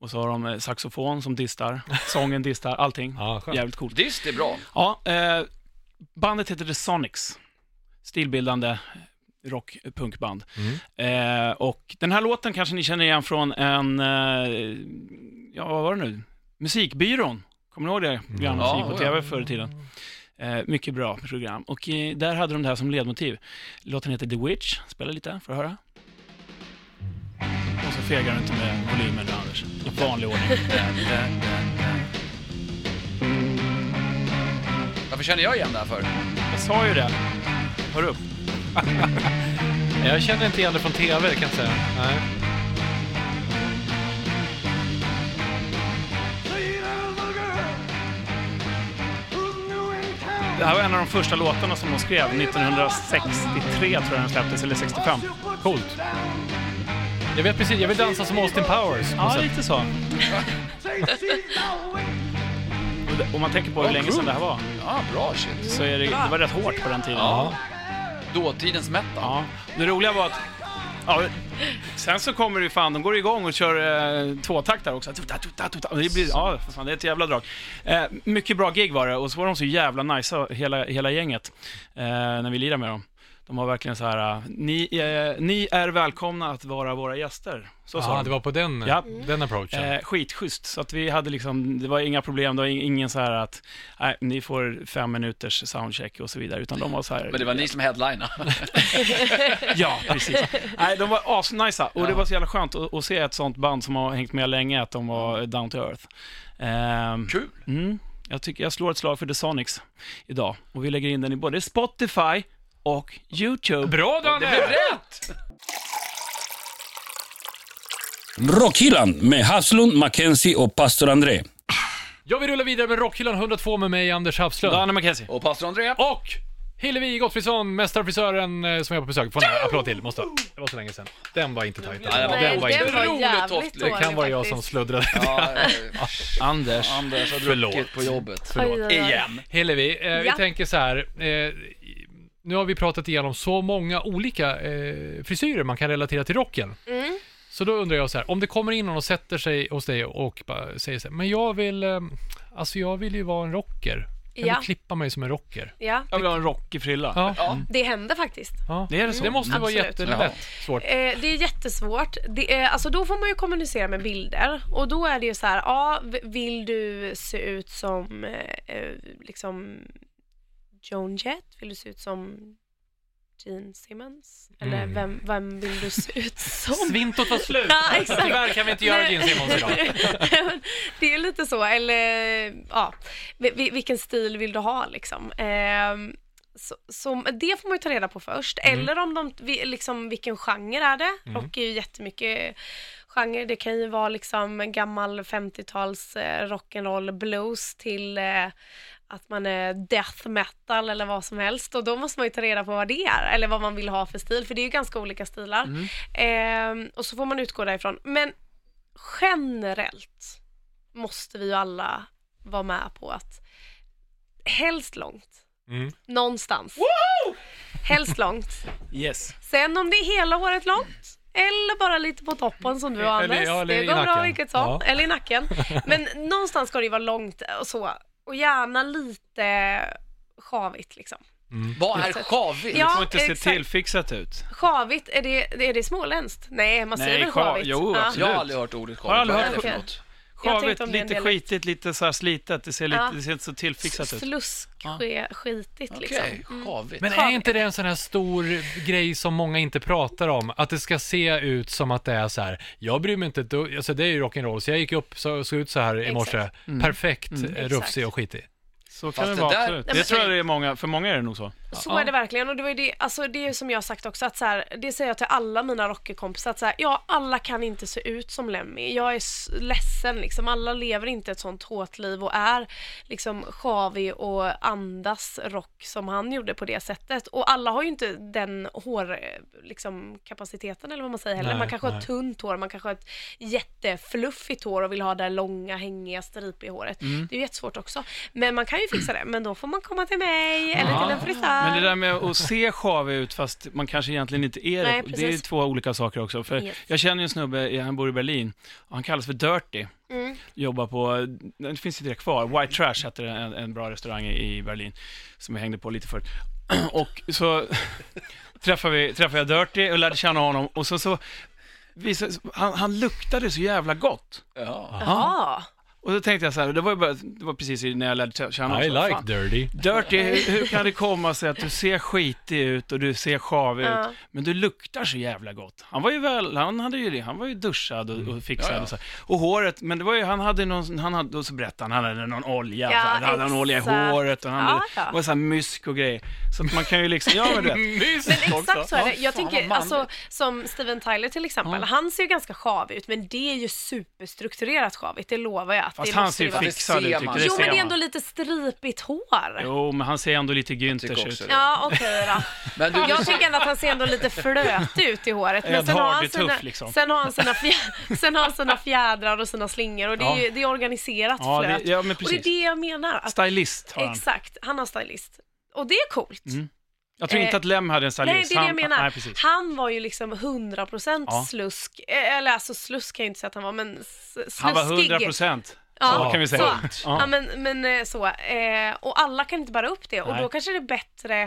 Och så har de eh, saxofon som distar, sången distar, allting.
Ja, skönt.
Jävligt coolt.
Dist är bra.
Ja, eh, bandet heter The Sonics. Stilbildande rock-punkband. Eh, och den här låten kanske ni känner igen från en, eh, ja vad var det nu, Musikbyrån. Kommer ni ihåg det programmet som
Ja,
gick på
ja.
tv förr i tiden? Eh, mycket bra program. Och eh, där hade de det här som ledmotiv. Låten heter The Witch. Spela lite, får du höra? Och så fegar du inte med volymen nu Anders. I vanlig ordning. Eh,
Varför känner jag igen det här för?
Jag sa ju det. Hör upp.
Jag känner inte igen det från TV, kan jag säga. Nej.
Det här var en av de första låtarna som de skrev. 1963 tror jag den släpptes, eller 65.
Coolt. Jag vet precis, jag vill dansa som Austin Powers.
Ja,
Ja,
lite så. Och Om man tänker på hur
Ja,
länge sedan det här var,
Ja, bra shit.
så är det, det var rätt hårt på den tiden.
Ja. Dåtidens metal.
Ja. Det roliga var att... Ja, sen så kommer det ju fan, de går igång och kör eh, tvåtaktar också. Tuta, tuta, tuta. Och Det, blir, ja, för fan, det är ett jävla drag. Eh, mycket bra gig var det och så var de så jävla nice hela, hela gänget, eh, när vi lirade med dem. De var verkligen så här, eh, ni, eh, ni är välkomna att vara våra gäster. Så sa
ah,
de.
det var på den,
Ja.
den approachen.
Eh, skitschysst, så att vi hade liksom, det var inga problem, det var in- ingen så här att, nej, ni får fem minuters soundcheck och så vidare, utan de var så här,
Men det var ni som headlinade.
ja, precis. nej, de var asnice och det var så jävla skönt att, att se ett sånt band som har hängt med länge, att de var down to earth. Ehm,
Kul.
mm, jag tycker, jag slår ett slag för The Sonics idag, och vi lägger in den i både Spotify och YouTube.
Bra, Danne!
Rätt!
Rockhyllan med Haslund, Mackenzie och pastor André.
Jag vill rulla vidare med Rockhyllan 102 med mig, Anders Hafslund.
Danne McKenzie.
Och pastor André.
Och Hillevi Gottfridsson, mästarfrisören eh, som jag är på besök. Får en applåd till, måste ha. Det var så länge sedan. Den var inte tajt.
Nej,
Nej, den
den
var,
var inte- Otroligt
jävligt
toftlig.
dålig
Det kan vara jag som
faktiskt.
sluddrade.
Ja, eh,
Anders.
Anders har
Förlåt.
druckit på jobbet.
Oj, oj, oj.
Igen.
Hillevi, eh, vi
Ja.
tänker så här. Eh, nu har vi pratat igenom så många olika eh, frisyrer man kan relatera till rocken.
Mm.
Så då undrar jag så här, om det kommer in någon och sätter sig hos dig och bara säger så här, men jag vill, eh, alltså jag vill ju vara en rocker. Kan
Ja.
du klippa mig som en rocker?
Ja,
Jag vill ha en rockig frilla.
Ja.
Ja.
det hände faktiskt.
ja.
Det är det så?
Det måste vara
Absolut.
jättelätt. Svårt.
Eh, det är jättesvårt. Det är, alltså då får man ju kommunicera med bilder och då är det ju så här, ja, v- vill du se ut som eh, eh, liksom Joan Jett? Vill du se ut som Gene Simmons? Eller
Mm.
vem, vem vill du se ut som?
Svintot var slut!
Ja, exakt.
Tyvärr kan vi inte göra
Nej.
Gene Simmons idag.
Men det är lite så, eller ja, vi- vi- vilken stil vill du ha liksom? Ehm, så, så det får man ju ta reda på först.
Mm.
Eller om de, vi- liksom, vilken genre är det? Rock är ju jättemycket genre. Det kan ju vara liksom gammal 50-tals eh, rock'n'roll blues till eh, att man är death metal eller vad som helst och då måste man ju ta reda på vad det är eller vad man vill ha för stil för det är ju ganska olika stilar.
Mm.
Ehm, och så får man utgå därifrån. Men generellt måste vi ju alla vara med på att helst långt.
Mm.
Någonstans. Helst långt.
Yes.
Sen om det är hela håret långt eller bara lite på toppen som du och
Eller-
Anders.
ja, eller
det
i
går bra
nacken.
vilket som.
Ja.
Eller i nacken. Men någonstans ska det ju vara långt och så. Och gärna lite sjavigt liksom.
Vad är sjavigt?
Ja,
Det får inte se
exakt.
tillfixat ut.
Sjavigt, är det, är det småländskt? Nej, man
Nej,
säger väl
sjav-
sjavigt?
jo, absolut.
Jag har aldrig hört ordet
Har
sjavigt.
aldrig
Vad är det
hört
för
det.
något?
Jag har tänkt
Sjavigt,
om det en
lite
del.
skitigt, lite så här slitet. Det ser, lite,
Ja.
det ser inte så tillfixat ut.
Sluskskitigt liksom.
Okej, sjavigt.
Men är inte det en sån här stor grej som många inte pratar om? Att det ska se ut som att det är så här, jag bryr mig inte ett dugg, alltså det är ju rock'n'roll, så jag gick upp så såg ut så här i morse, perfekt mm. rufsig och skitig.
Så kan
Fast
det
det
vara,
där-
absolut.
Nej,
Det
men-
tror jag det är många, för många är det nog så.
Så är det verkligen och det var ju det, alltså det är ju som jag har sagt också att så här, det säger jag till alla mina rockerkompisar att så här, ja alla kan inte se ut som Lemmy. Jag är s- ledsen liksom, alla lever inte ett sånt hårt liv och är liksom sjavig och andas rock som han gjorde på det sättet. Och alla har ju inte den hår, liksom kapaciteten eller vad man säger heller.
Nej,
man kanske har
nej.
ett tunt hår, man kanske har ett jättefluffigt hår och vill ha det här långa hängiga stripiga håret.
Mm.
Det är ju jättesvårt också. Men man kan ju fixa det, men då får man komma till mig eller till en frisör.
Men det där med att se sjavig ut fast man kanske egentligen inte är det,
Nej,
det är ju
precis.
två olika saker också. För
Yes.
Jag känner ju en snubbe, han bor i Berlin, och han kallas för Dirty.
Mm.
Jobbar på, det finns inte det kvar, White Trash hette det, en, en bra restaurang i i Berlin, som jag hängde på lite förut. Och så träffade, vi, träffade jag Dirty och lärde känna honom och så, så visade, han, han luktade så jävla gott.
Ja.
Ja.
Och då tänkte jag så här, det var, ju bara, det var precis när jag lärde känna honom.
I
så,
like
fan,
dirty.
Dirty, hur, hur kan det komma sig att du ser skitig ut och du ser sjavig
Ja.
ut, men du luktar så jävla gott? Han var ju väl, han hade ju det, han var ju duschad och, och fixad
Mm. Ja, ja.
och så. här. Och håret, men det var ju, han hade någon, han hade, och så berättade han, han hade någon olja,
Ja,
så här, han hade någon olja i
exakt.
håret och han hade,
Ja, ja.
det var så här mysk och grejer. Så att man kan ju liksom, ja men du vet.
Men exakt så är det.
Ja,
Jag
fan,
tänker,
vad
alltså, som Steven Tyler till exempel, han ser ju ganska sjavig ut, men det är ju superstrukturerat sjavigt, det lovar jag. Att
Fast
det
han
måste
ser
ju
ju
vara-
Det
fixad ut,
ser
tycker
man.
jag, det
Jo,
ser
men det är
man.
ändå lite stripigt hår.
Jo, men han ser ändå lite Günthers
tycker
ut.
också det.
Ja, okej då.
Men du,
Jag tycker ändå att han ser ändå lite flöt ut i håret. Men
Ed
sen har,
Hardy
han sina,
tuff, liksom.
sen, har han sina fjä- sen har han sina fjädrar och sina slingor och det är, ju, det är organiserat
Ja, det-
flöt.
ja, men
och det är
precis.
det jag menar. Att,
Stylist har han.
exakt, han har stylist. Och det är coolt.
Jag tror inte
Eh,
att Lem hade en stylist.
Nej, det är det jag
Han-
menar.
Nej, precis.
han var ju liksom 100%
Ja.
slusk. Eh, Eller alltså slusk kan jag inte säga att han var, men s- sluskig.
Han var 100 procent.
Ja,
kan vi säga.
Så.
Ja.
Ja. men, men eh, så. Eh, och alla kan inte bära upp det. Och
Nej.
då kanske det är bättre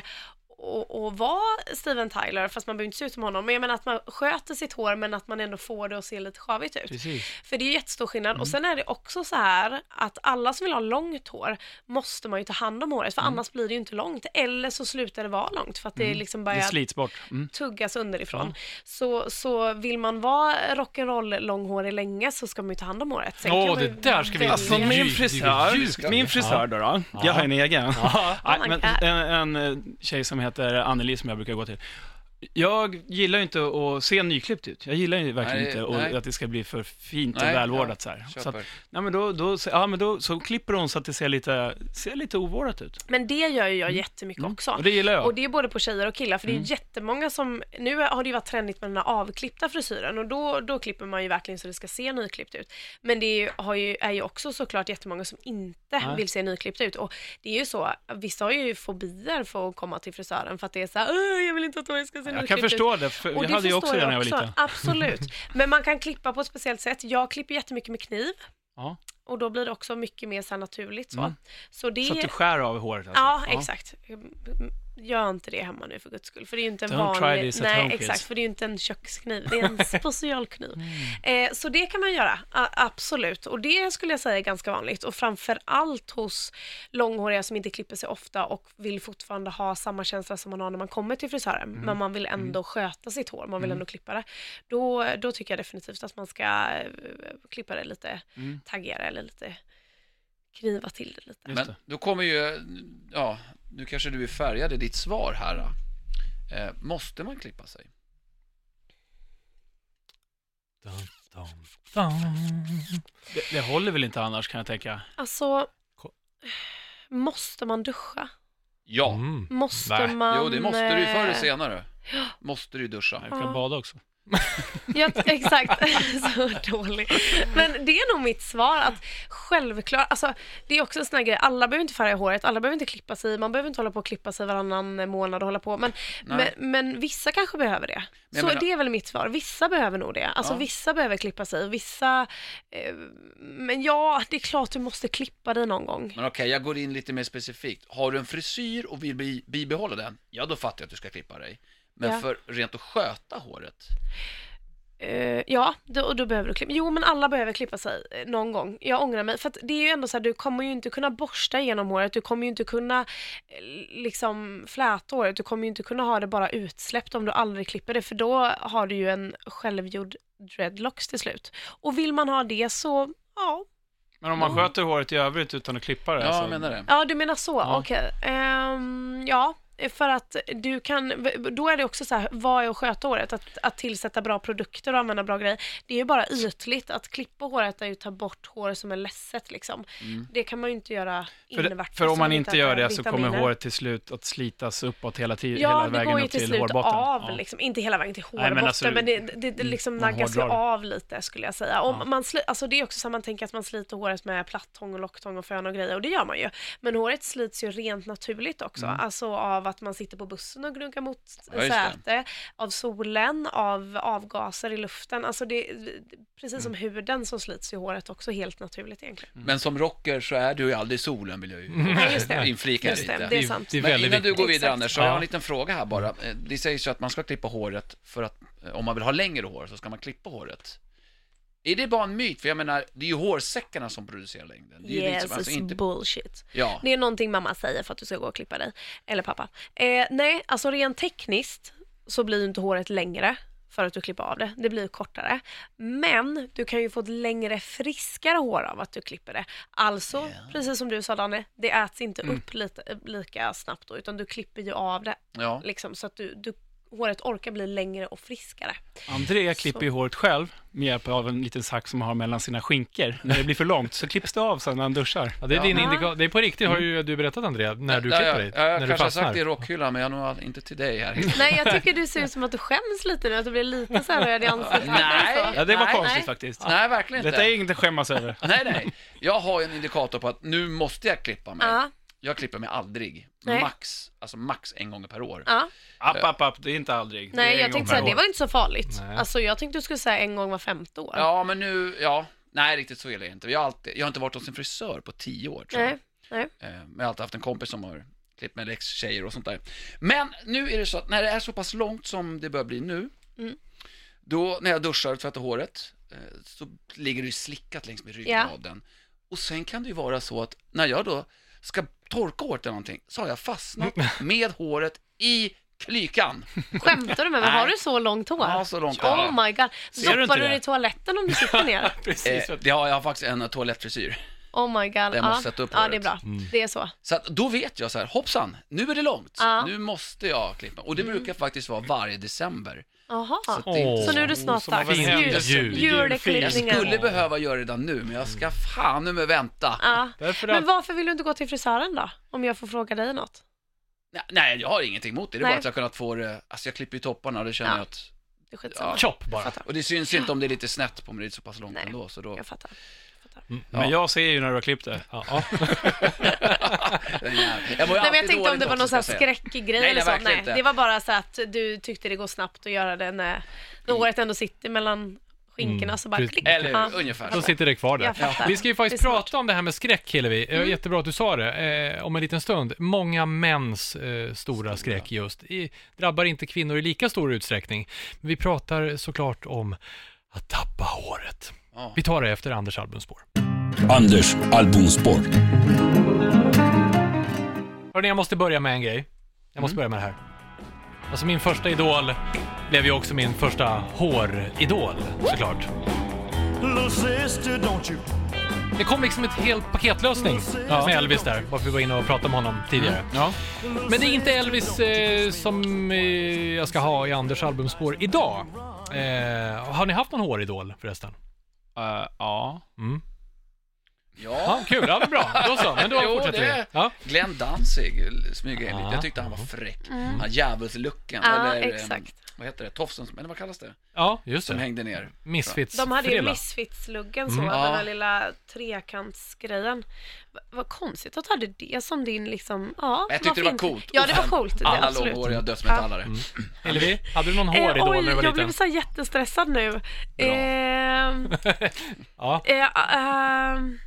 att- att vara Steven Tyler, fast man behöver inte se ut som honom. Men jag menar att man sköter sitt hår, men att man ändå får det att se lite sjavigt ut.
Precis. Mm.
För det är ju jättestor skillnad. Och sen är det också så här att alla som vill ha långt hår måste man ju ta hand om håret, för
Mm.
annars blir det ju inte långt. Eller så slutar det vara långt för att det liksom
Det
börjar
slits bort. Mm.
tuggas underifrån.
Mm.
Så, så vill man vara rock'n'roll långhårig länge så ska man ju ta hand om håret. Sen
Åh,
kan man ju
det där ska vi-
välja.
Alltså min
Ljud,
frisör,
ljud.
min frisör då, då. jag har en egen. Nej,
Oh my
men
God.
en, en eh, tjej som heter Anneli som jag brukar gå till. Jag gillar ju inte att se nyklippt ut. Jag gillar ju verkligen
Nej,
inte och
nej.
att det ska bli för fint och
Nej,
välvårdat
ja,
så här. Så, att,
köper.
nej, men då, då, så- ja, men då så klipper hon så att det ser lite, ser lite ovårdat ut.
Men det gör ju jag jättemycket också.
Mm. Och det gillar jag. Mm.
Och det är både på tjejer och killar, för det är ju jättemånga som, nu har det ju varit trendigt med den här avklippta frisyren och då, då klipper man ju verkligen så det ska se nyklippt ut. Men det är ju, har ju, är ju också såklart jättemånga som inte vill se nyklippt ut och det är ju så, vissa har ju fobier för att komma till frisören för att det är så här, "Åh, jag vill inte att håret ska se nyklippt
Jag
ut.
kan förstå det, för
Och
jag hade ju också
förstår
det när jag var
också.
liten.
Absolut. Men man kan klippa på ett speciellt sätt. Jag klipper jättemycket med kniv.
Ja. Mm.
Och då blir det också mycket mer så här naturligt så. Så det
Så att du skär av håret alltså.
Ja, exakt. Gör inte det hemma nu för guds skull. För det är ju inte en
Don't try
vanlig...
this at
Nej,
home, kids.
exakt. För det är ju inte en kökskniv. Det är en specialkniv.
Mm.
Eh, så det kan man göra, a- absolut. Och det skulle jag säga är ganska vanligt. Och framför allt hos långhåriga som inte klipper sig ofta och vill fortfarande ha samma känsla som man har när man kommer till frisören.
Mm.
Men man vill ändå sköta sitt hår, man vill ändå klippa det. Då, då tycker jag definitivt att man ska eh, klippa det lite
Mm.
taggigare eller lite kniva till det lite.
Just
Men då kommer ju, ja, nu kanske du är färgad i ditt svar här. då. Eh, måste man klippa sig?
Dun, dun, dun.
Det, det håller väl inte annars kan jag tänka.
Alltså,
Ko-
måste man duscha?
Ja.
Mm.
Måste
Nej.
man...
Jo, det måste du ju förr eller
eh,
senare. Måste du ju duscha.
Jag kan
Ja.
bada också.
Ja, exakt. så dålig. Men det är nog mitt svar att självklart, alltså det är också en sån här grej, alla behöver inte färga håret, alla behöver inte klippa sig, man behöver inte hålla på och klippa sig varannan månad och hålla på, men, men,
Nej.
men vissa kanske behöver det.
jag
så
menar-
det är väl mitt svar, vissa behöver nog det, alltså
Ja.
vissa behöver klippa sig, vissa, eh, men ja, det är klart du måste klippa dig någon gång.
Men okej, jag går in lite mer specifikt. Har du en frisyr och vill bi- bibehålla den, ja då fattar jag att du ska klippa dig. Men
Ja.
för rent att sköta håret,
Eh, ja, då, och då behöver du klippa. Jo, men alla behöver klippa sig eh, någon gång. Jag ångrar mig. För att det är ju ändå så här, du kommer ju inte kunna borsta genom håret. Du kommer ju inte kunna eh, liksom fläta håret. Du kommer ju inte kunna ha det bara utsläppt om du aldrig klipper det. För då har du ju en självgjord dreadlocks till slut. Och vill man ha det så, ja.
Men om man sköter håret i övrigt utan att klippa det.
Ja,
så-
jag menar det.
Ja, du menar så.
Ja.
Okej. Ehm, ja. För att du kan, då är det också så här, vad är att sköta håret? Att, att tillsätta bra produkter och använda bra grejer. Det är ju bara ytligt. Att klippa håret är ju att ta bort hår som är ledset liksom. Det kan man ju inte göra
Mm. För, det,
invärtes
för om man
utan
inte
att
gör
äta
det så kommer
vitaminer.
håret till slut att slitas uppåt hela, ti-
Ja,
hela
det går
vägen
ju
upp
till
till
slut
hårbotten.
av,
Ja.
liksom. inte hela vägen till
men
hårbotten, men,
alltså,
det, det, det liksom
man
naggas ju
hårdrar det.
av lite skulle jag säga. Och
Ja.
man sli, alltså, det är också så att man tänker att man sliter håret med plattång och locktång och fön och grejer, och det gör man ju. Men håret slits ju rent naturligt också,
Mm.
alltså av att man sitter på bussen och gnuggar mot
Ja, just det.
säte, av solen, av avgaser i luften. Alltså det,
Mm.
precis som huden så slits ju håret också helt naturligt egentligen.
Men som rocker så är du ju aldrig i solen, vill jag ju
Ja, just det.
inflika
Just
lite.
det, det är sant.
Det är
Men
väldigt
innan du
viktigt.
går vidare
Exakt.
Anders, så har
Ja.
jag en liten fråga här bara. Eh, Det sägs ju att man ska klippa håret för att, eh, om man vill ha längre hår så ska man klippa håret. Är det bara en myt? För jag menar, det är ju hårsäckarna som producerar längden. Det är ju
Yes,
liksom, alltså
it's
inte...
bullshit.
Ja,
Det är någonting mamma säger för att du ska gå och klippa dig. Eller pappa. Eh, nej, alltså rent tekniskt så blir ju inte håret längre för att du klipper av det. Det blir ju kortare. Men du kan ju få ett längre, friskare hår av att du klipper det. Alltså, precis som du sa Danne, det äts inte upp lite, eh, lika snabbt då, utan du klipper ju av det.
ja.
Liksom, så att du, du, håret orkar bli längre och friskare.
Andrea klipper ju håret själv med hjälp av en liten sax som han har mellan sina skinkor. När det blir för långt så klipps det av sen när han duschar.
Ja, det är din
Ja.
indika- Det är på riktigt, har ju du berättat Andrea, när du
Mm. Ja,
klipper
ja,
dig.
Ja, jag
när du
kanske har sagt
fastnar.
det i rockhyllan, men jag har nog aldrig- inte till dig här.
Nej, jag tycker du ser ut som att du skäms lite nu, att du blir lite så här röd i ansiktet.
Nej.
Ja, det var
Nej.
konstigt
Nej.
faktiskt.
Nej, verkligen inte.
Detta är inget att skämmas över.
Nej, nej. Jag har ju en indikator på att nu måste jag klippa mig.
Ja,
Jag klipper mig aldrig.
Nej.
Max, alltså max en gång per år.
ja.
App, app, app, det är inte aldrig.
Nej,
det är en
jag
gång
tänkte säga
per
det
år.
var inte så farligt.
Nej.
Alltså jag tänkte du skulle säga en gång var femte år.
Ja, men nu, ja. Nej, riktigt så illa är det inte. Jag har, alltid, jag har inte varit hos en frisör på tio år, tror jag.
Nej, nej.
Eh, Men jag har alltid haft en kompis som har klippt med ex-tjejer och sånt där. Men nu är det så att när det är så pass långt som det börjar bli nu,
Mm.
då när jag duschar och tvättar håret, eh, så ligger det ju slickat längs med ryggraden. Och sen kan det ju vara så att när jag då ska torka håret eller någonting, så har jag fastnat med håret i klykan.
Skämtar du med mig? Har
Nej.
du så långt hår?
Ja, så långt har jag.
oh my god.
Ser du inte
Doppar du
det?
det i toaletten om du sitter ner?
Precis.
Eh, det har jag har faktiskt en toalettfrisyr.
Oh my god.
Jag måste sätta upp
ja
håret.
det är bra. Det är så.
Så att då vet jag så här, hoppsan, nu är det långt.
Ja. Mm.
Nu måste jag klippa. Och det brukar faktiskt vara varje december.
Jaha.
Så att det är inte
Åh.
Så nu är det snart
som har
dags.
varit
Jul-
händelse.
Jul.
Jag
Juleklippningar.
skulle behöva göra det redan nu, men jag ska fan nu med vänta.
Ja.
Därför att-
Men varför vill du inte gå till frisören då? Om jag får fråga dig något.
Nej, Nej, jag har ingenting emot det. Det är
Nej.
bara att jag har kunnat få det, alltså jag klipper ju topparna och det känner
Ja.
jag att,
Det är skitsamma.
Chop bara.
Fattar.
och det syns inte om det är lite snett på mig, det är så pass långt
Nej.
ändå, så då,
Jag fattar.
Men jag ser ju när du har klippt det.
Ja, ja.
Den jävla- jag mår ju
Nej, men
alltid
jag tänkte om
dåligt
det var
också,
någon sån här
ska jag säga.
skräckgrej
Nej,
eller
nej,
så.
verkligen
Nej,
inte.
det var bara så att du tyckte det går snabbt att göra det när, när håret ändå sitter mellan skinkorna så bara
Mm, Precis.
klick.
Mm. Eller
Ja.
hur? ungefär
Då
så.
sitter det kvar där.
Jag fattar.
Vi ska ju faktiskt
Det är smart.
prata om det här med skräck, Hillevi. Mm. Jättebra att du sa det. Eh, om en liten stund. Många mäns eh, stora, skräck just i, drabbar inte kvinnor i lika stor utsträckning. Men vi pratar såklart om att tappa håret.
Ja.
Vi tar det efter Anders albumspår.
Anders albumspår.
Hörrni, jag måste börja med en grej. Jag måste börja med det här. Alltså min första idol blev ju också min första håridol, såklart.
Little sister, don't you
Det kom liksom ett helt paketlösning med Elvis där, varför vi var inne och pratade om honom tidigare.
Mm.
Ja.
Men det är inte Elvis eh, som eh, jag ska ha i Anders albumspår idag. Eh, har ni haft någon håridol förresten?
Eh, ja.
Ja,
Ja, kul, ja men bra. Då så, men då
Jo,
fortsätter vi.
det-
Ja.
Glenn Danzig smyger in lite.
Ja.
Jag tyckte han var fräck. Han har djävulsluckan,
Mm. Ja,
eller eh,
exakt.
vad heter det, tofsen, som- eller vad kallas det?
ja, just
Som
det.
hängde ner.
Misfits
De hade ju
frilla.
Misfits-luggen så,
Mm. Ja.
den här lilla trekantsgrejen. Va- Vad konstigt att du hade det som din liksom, ja.
Jag tyckte
varför
det var
inte?
coolt.
Ja, det var
Och
coolt. Det,
Alla
absolut.
långhåriga dödsmetallare.
Mm. Hillevi, hade du någon
Eh,
håridol
oj,
när du var
jag blev
liten?
så här jättestressad nu. Ehm,
Ja.
eh, ehm,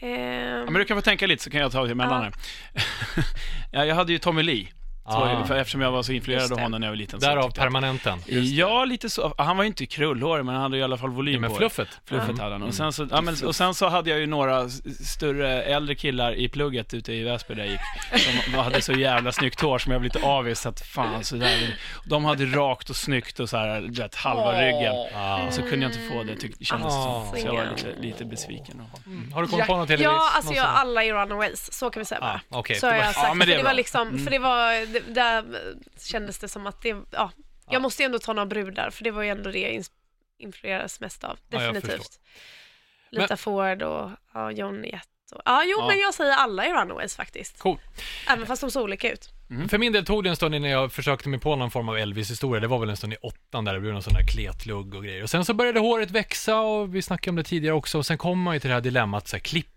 ehm,
Ja, men du kan få tänka lite så kan jag ta emellan
Ja.
här. ja, jag hade ju Tommy Lee. Så var det
Ah.
ungefär, eftersom jag var så
Just
influerad av
det.
honom när jag var liten. så
Därav
tyckte jag-
permanenten.
Ja, lite så. Han var ju inte krullhårig, men han hade i alla fall volym
Ja, men
på
fluffet.
Fluffet
Mm.
hade han. Och sen, så, ja, men, och sen så hade jag ju några s- större, äldre killar i plugget ute i Väsby där jag gick, som hade så jävla snyggt hår som jag blev lite avis så att fan så där. De hade rakt och snyggt och så här, du vet, halva ryggen.
Ah.
Och så kunde jag inte få det, tyck, kändes det som. Så jag var lite, lite besviken. Och...
Har du kommit på något Hillevi?
Ja, alltså jag,
Någon sån-
alla i Runaways, så kan vi säga bara.
Ah, okej.
Så har jag
Ja,
sagt,
men det
för
är
det
bra.
var liksom, för det var, det, där eh, kändes det som att det, ja, jag måste ju ändå ta några brudar, för det var ju ändå det jag ins- influerades mest av,
Ja, jag
definitivt.
Men-
Lita Ford och ja, Johnny Jett och, ja, jo, men jag säger alla i Runaways faktiskt.
Cool.
Även fast de såg olika ut.
För min del tog det en stund innan jag försökte mig på någon form av Elvis-historia. Det var väl en stund i åttan där det blev någon sån där kletlugg och grejer. Och sen så började håret växa och vi snackade om det tidigare också. Och sen kom man ju till det här dilemmat, så här, klippa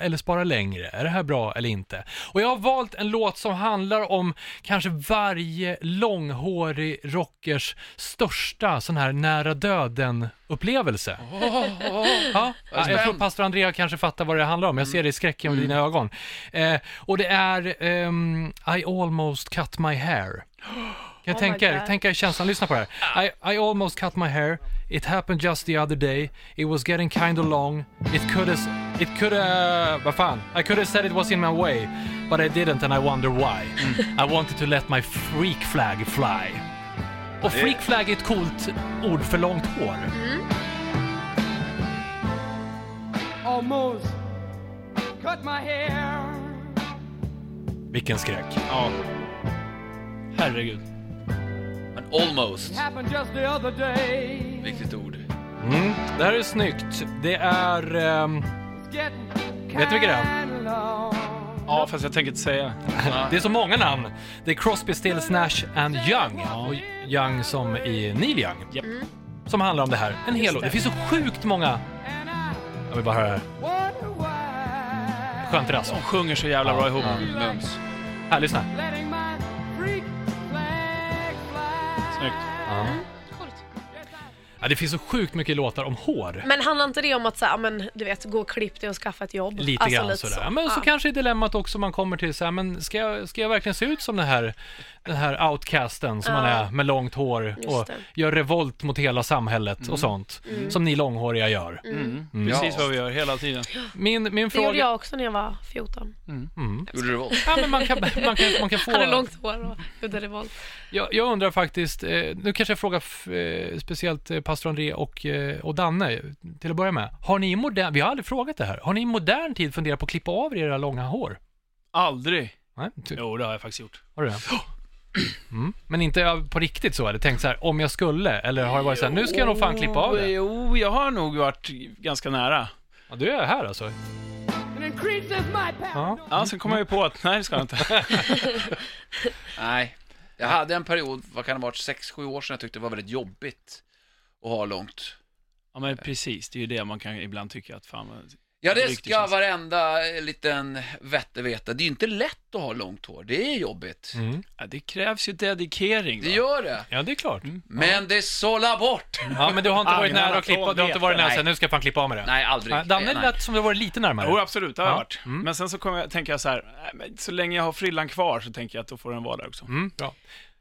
eller spara längre? Är det här bra eller inte? Och jag har valt en låt som handlar om kanske varje långhårig rockers största sån här nära döden-upplevelse. Ja, ja, jag tror pastor Andrea kanske fattar vad det handlar om. Jag ser det i skräcken i dina ögon. Eh, och det är ehm, I almost cut my hair. Kan jag
Oh my
tänka er,
God.
tänka er känslan, lyssna på det här. I, I almost cut my hair, it happened just the other day, it was getting kind of long, it could have, it could have, vad fan, I could have said it was in my way, but I didn't and I wonder why. I wanted to let my freak flag fly. Och freak flag är ett coolt ord för långt hår.
almost cut my hair.
Vilken skräck.
Ja. Herregud.
Men almost.
Happened just the other day.
Viktigt ord.
Mm, det här är snyggt. Det är... ehm,
It's getting
Vet du vilka det är?
kinda long.
Ja, fast jag tänker inte säga.
det är så många namn. Det är Crosby, Stills, Nash and Young. Och Young som i Neil Young.
Japp.
Mm.
Som handlar om det här. En hel låt. Det finns så sjukt många...
And I
Jag vill bara höra det
wonder why.
här. Skönt det alltså.
De sjunger så jävla bra ihop.
Mums.
Här, lyssna.
Letting my freak flag fly.
Snyggt.
Ja, det finns så sjukt mycket låtar om hår.
Men handlar inte det om att så här, ja, men, du vet, gå och klipp dig och skaffa ett jobb?
Lite
Alltså,
grann sådär. Men så
Ja.
kanske är dilemmat också man kommer till så här, men ska jag, ska jag verkligen se ut som den här, den här outcasten som
Ja.
man är med långt hår
Just
och
det.
gör revolt mot hela samhället och sånt,
Mm.
som ni långhåriga gör.
Mm.
Mm.
Precis vad vi gör hela tiden.
Min, min
Det gjorde
fråga... Mm.
jag också när jag var 14.
Gjorde du vad?
Ja, men man, kan, man, kan, man kan få...
Hade långt hår och gjorde revolt.
Jag, jag undrar faktiskt, eh, nu kanske jag frågar f- eh, speciellt eh, pastor André och, eh, och Danne till att börja med. Har ni i modern, vi har aldrig frågat det här, har ni i modern tid funderat på att klippa av er era långa hår?
Aldrig.
Nej, ty-
Jo, det har jag faktiskt gjort.
har du det? Mm. Men inte av- på riktigt så, eller tänkt så här, om jag skulle, eller har det varit så här, nu ska jag nog fan klippa av det?
Jo, jag har nog varit ganska nära.
Ja, du är här alltså?
It increases my power.
Ja.
Ja, sen kom jag ju på att nej, det ska jag inte.
Nej. Jag hade en period, vad kan det ha varit, 6-7 år sedan jag tyckte det var väldigt jobbigt att ha långt.
Ja, men precis. Det är ju det man kan ibland tycka att fan vad...
Ja, det
Riktigt
ska
liksom-
känns-
varenda eh, liten vätte veta. Det är ju inte lätt att ha långt hår. Det är jobbigt.
Mm.
Ja, det krävs ju dedikering.
Det
Va?
gör det.
ja, det är klart.
Men det sålla bort.
Ja, men du har inte varit
Agnarna
nära att klippa, du har inte varit nära
Nej.
så här, nu ska jag fan klippa av mig det.
Nej, aldrig.
Nej, Danne
Nej.
lät som du var lite närmare.
Jo, absolut, det har jag
Ja. Mm.
varit. Men sen så kom jag, tänker jag så här, nej, men så länge jag har frillan kvar så tänker jag att då får den vara där också.
Mm, bra.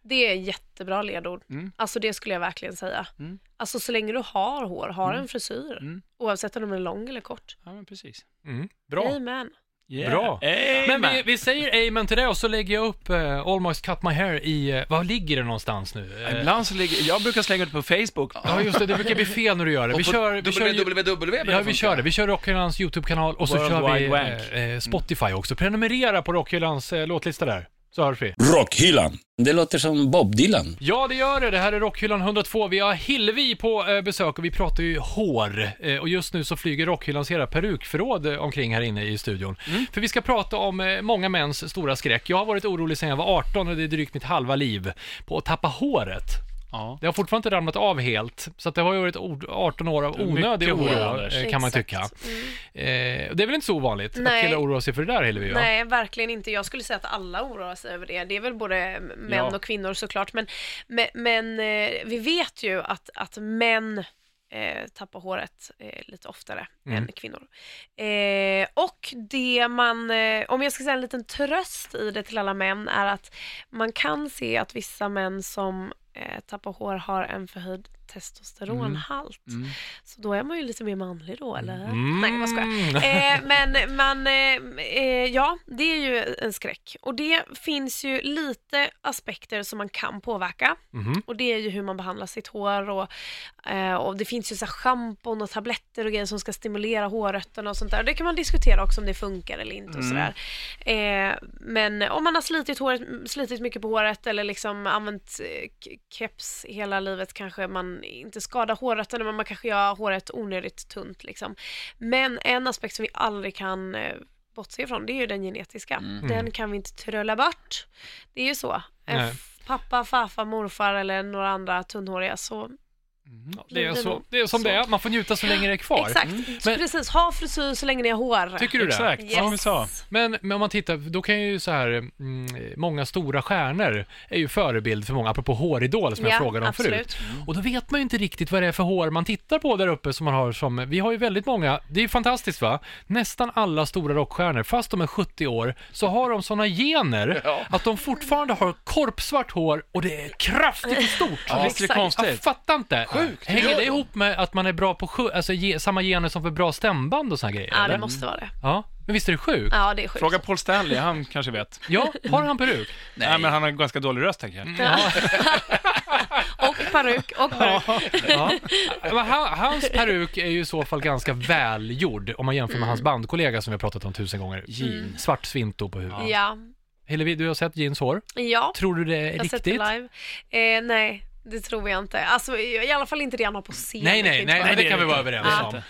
Det är jättebra ledord.
Mm.
Alltså det skulle jag verkligen säga. Alltså så länge du har hår, har
Mm.
en frisyr. Oavsett om den är lång eller kort.
Ja, men precis.
Mm, bra.
Amen.
Yeah.
Bra.
Amen.
Men vi, vi säger amen till det och så lägger jag upp eh, Almost Cut My Hair i, eh, var ligger det någonstans nu? Eh,
Ibland så ligger, jag brukar slänga ut på Facebook.
Ja just det, det brukar bli fel när du gör det. Vi kör, vi kör, ju-
www.
ja, vi kör det. Vi kör Rockhyllans YouTube-kanal och så
World
kör vi
Wide Wank.
eh, eh, Spotify också. Prenumerera på Rockhyllans eh, låtlista där, så hörs vi.
Rockhyllan. Det låter som Bob Dylan.
Ja, det gör det. Det här är Rockhyllan 102. Vi har Hillevi på eh, besök och vi pratar ju hår. Eh, och just nu så flyger Rockhyllans hela perukförråd eh, omkring här inne i studion.
Mm.
För vi ska prata om eh, många mäns stora skräck. Jag har varit orolig sedan jag var 18 och det är drygt mitt halva liv på att tappa håret.
Ja.
Det har fortfarande inte ramlat av helt, så att det har ju varit ord- 18 år av
är mycket
onödig oro,
hår, Anders.
eh, kan man tycka.
Exakt. Mm.
Eh, det är väl inte så ovanligt
Nej.
att killar oroar sig för det där, Hillevi? va?
Nej, verkligen inte. Jag skulle säga att alla oroar sig över det. Det är väl både män
Ja.
och kvinnor såklart. Men, men, men eh, vi vet ju att, att män eh, tappar håret eh, lite oftare
Mm.
än kvinnor. Eh, och det man, eh, om jag ska säga en liten tröst i det till alla män, är att man kan se att vissa män som eh, tappar hår har en förhöjd testosteronhalt.
Mm.
Så då är man ju lite mer manlig då, eller?
Mm.
Nej, vad ska eh, men man, eh, eh, ja, det är ju en skräck. Och det finns ju lite aspekter som man kan påverka.
Mhm.
Och det är ju hur man behandlar sitt hår och, eh, och det finns ju så här schampon och tabletter och grejer som ska stimulera hårrötterna och sånt där. Det kan man diskutera också om det funkar eller inte och sådär. Eh, men om man har slitit, håret, slitit mycket på håret eller liksom använt eh, k- keps hela livet kanske man inte skadar hårrötterna men man kanske gör håret onödigt tunt liksom. Men en aspekt som vi aldrig kan eh, bortse ifrån det är ju den genetiska.
Mm.
Den kan vi inte trölla bort. Det är ju så. En
Nej.
f- Pappa, farfar, morfar eller några andra tunnhåriga så
Ja, Det är,
Lider
så,
nog.
det är som
Så.
det är, man får njuta så länge det är kvar.
Exakt,
Mm. Men-
precis. Ha frisyr så länge ni har hår.
Tycker du det?
Exakt, som vi sa.
Men, men om man tittar, då kan ju så här, mm, många stora stjärnor är ju förebild för många, apropå håridol som jag
Ja,
frågade om
absolut.
förut. Och då vet man ju inte riktigt vad det är för hår man tittar på där uppe som man har som, vi har ju väldigt många, det är ju fantastiskt va? Nästan alla stora rockstjärnor, fast de är 70 år, så har de sådana gener att de fortfarande har korpsvart hår och det är kraftigt och stort.
Ja, Visst är det
exakt.
Jag
konstigt?
fattar inte. Sjukt, Hänger det ihop med att man är bra på sju, alltså, ge, samma gener som för bra stämband och såna grejer?
Ja, det
eller? Mm.
måste vara det.
ja. Men visst är det sjukt?
Ja, det är sjukt.
Fråga Paul Stanley, han kanske vet.
Ja, har han peruk?
Nej, Mm. men han har en ganska dålig röst, tänker jag.
Och peruk, och peruk.
Ja. Men han, hans peruk är ju i så fall ganska välgjord om man jämför med hans bandkollega som vi har pratat om tusen gånger. Mm.
Jeans.
Svart svinto på huvudet.
Ja.
Hillevi, du har sett Jeans hår.
Ja,
Tror du det är
jag har sett det
riktigt?
live. Eh, nej, det tror jag inte. Alltså, i alla fall inte det han har på scen.
Nej,
Det kan
nej,
ju
nej,
inte
nej,
vara-
det kan vi vara överens
Ja.
om.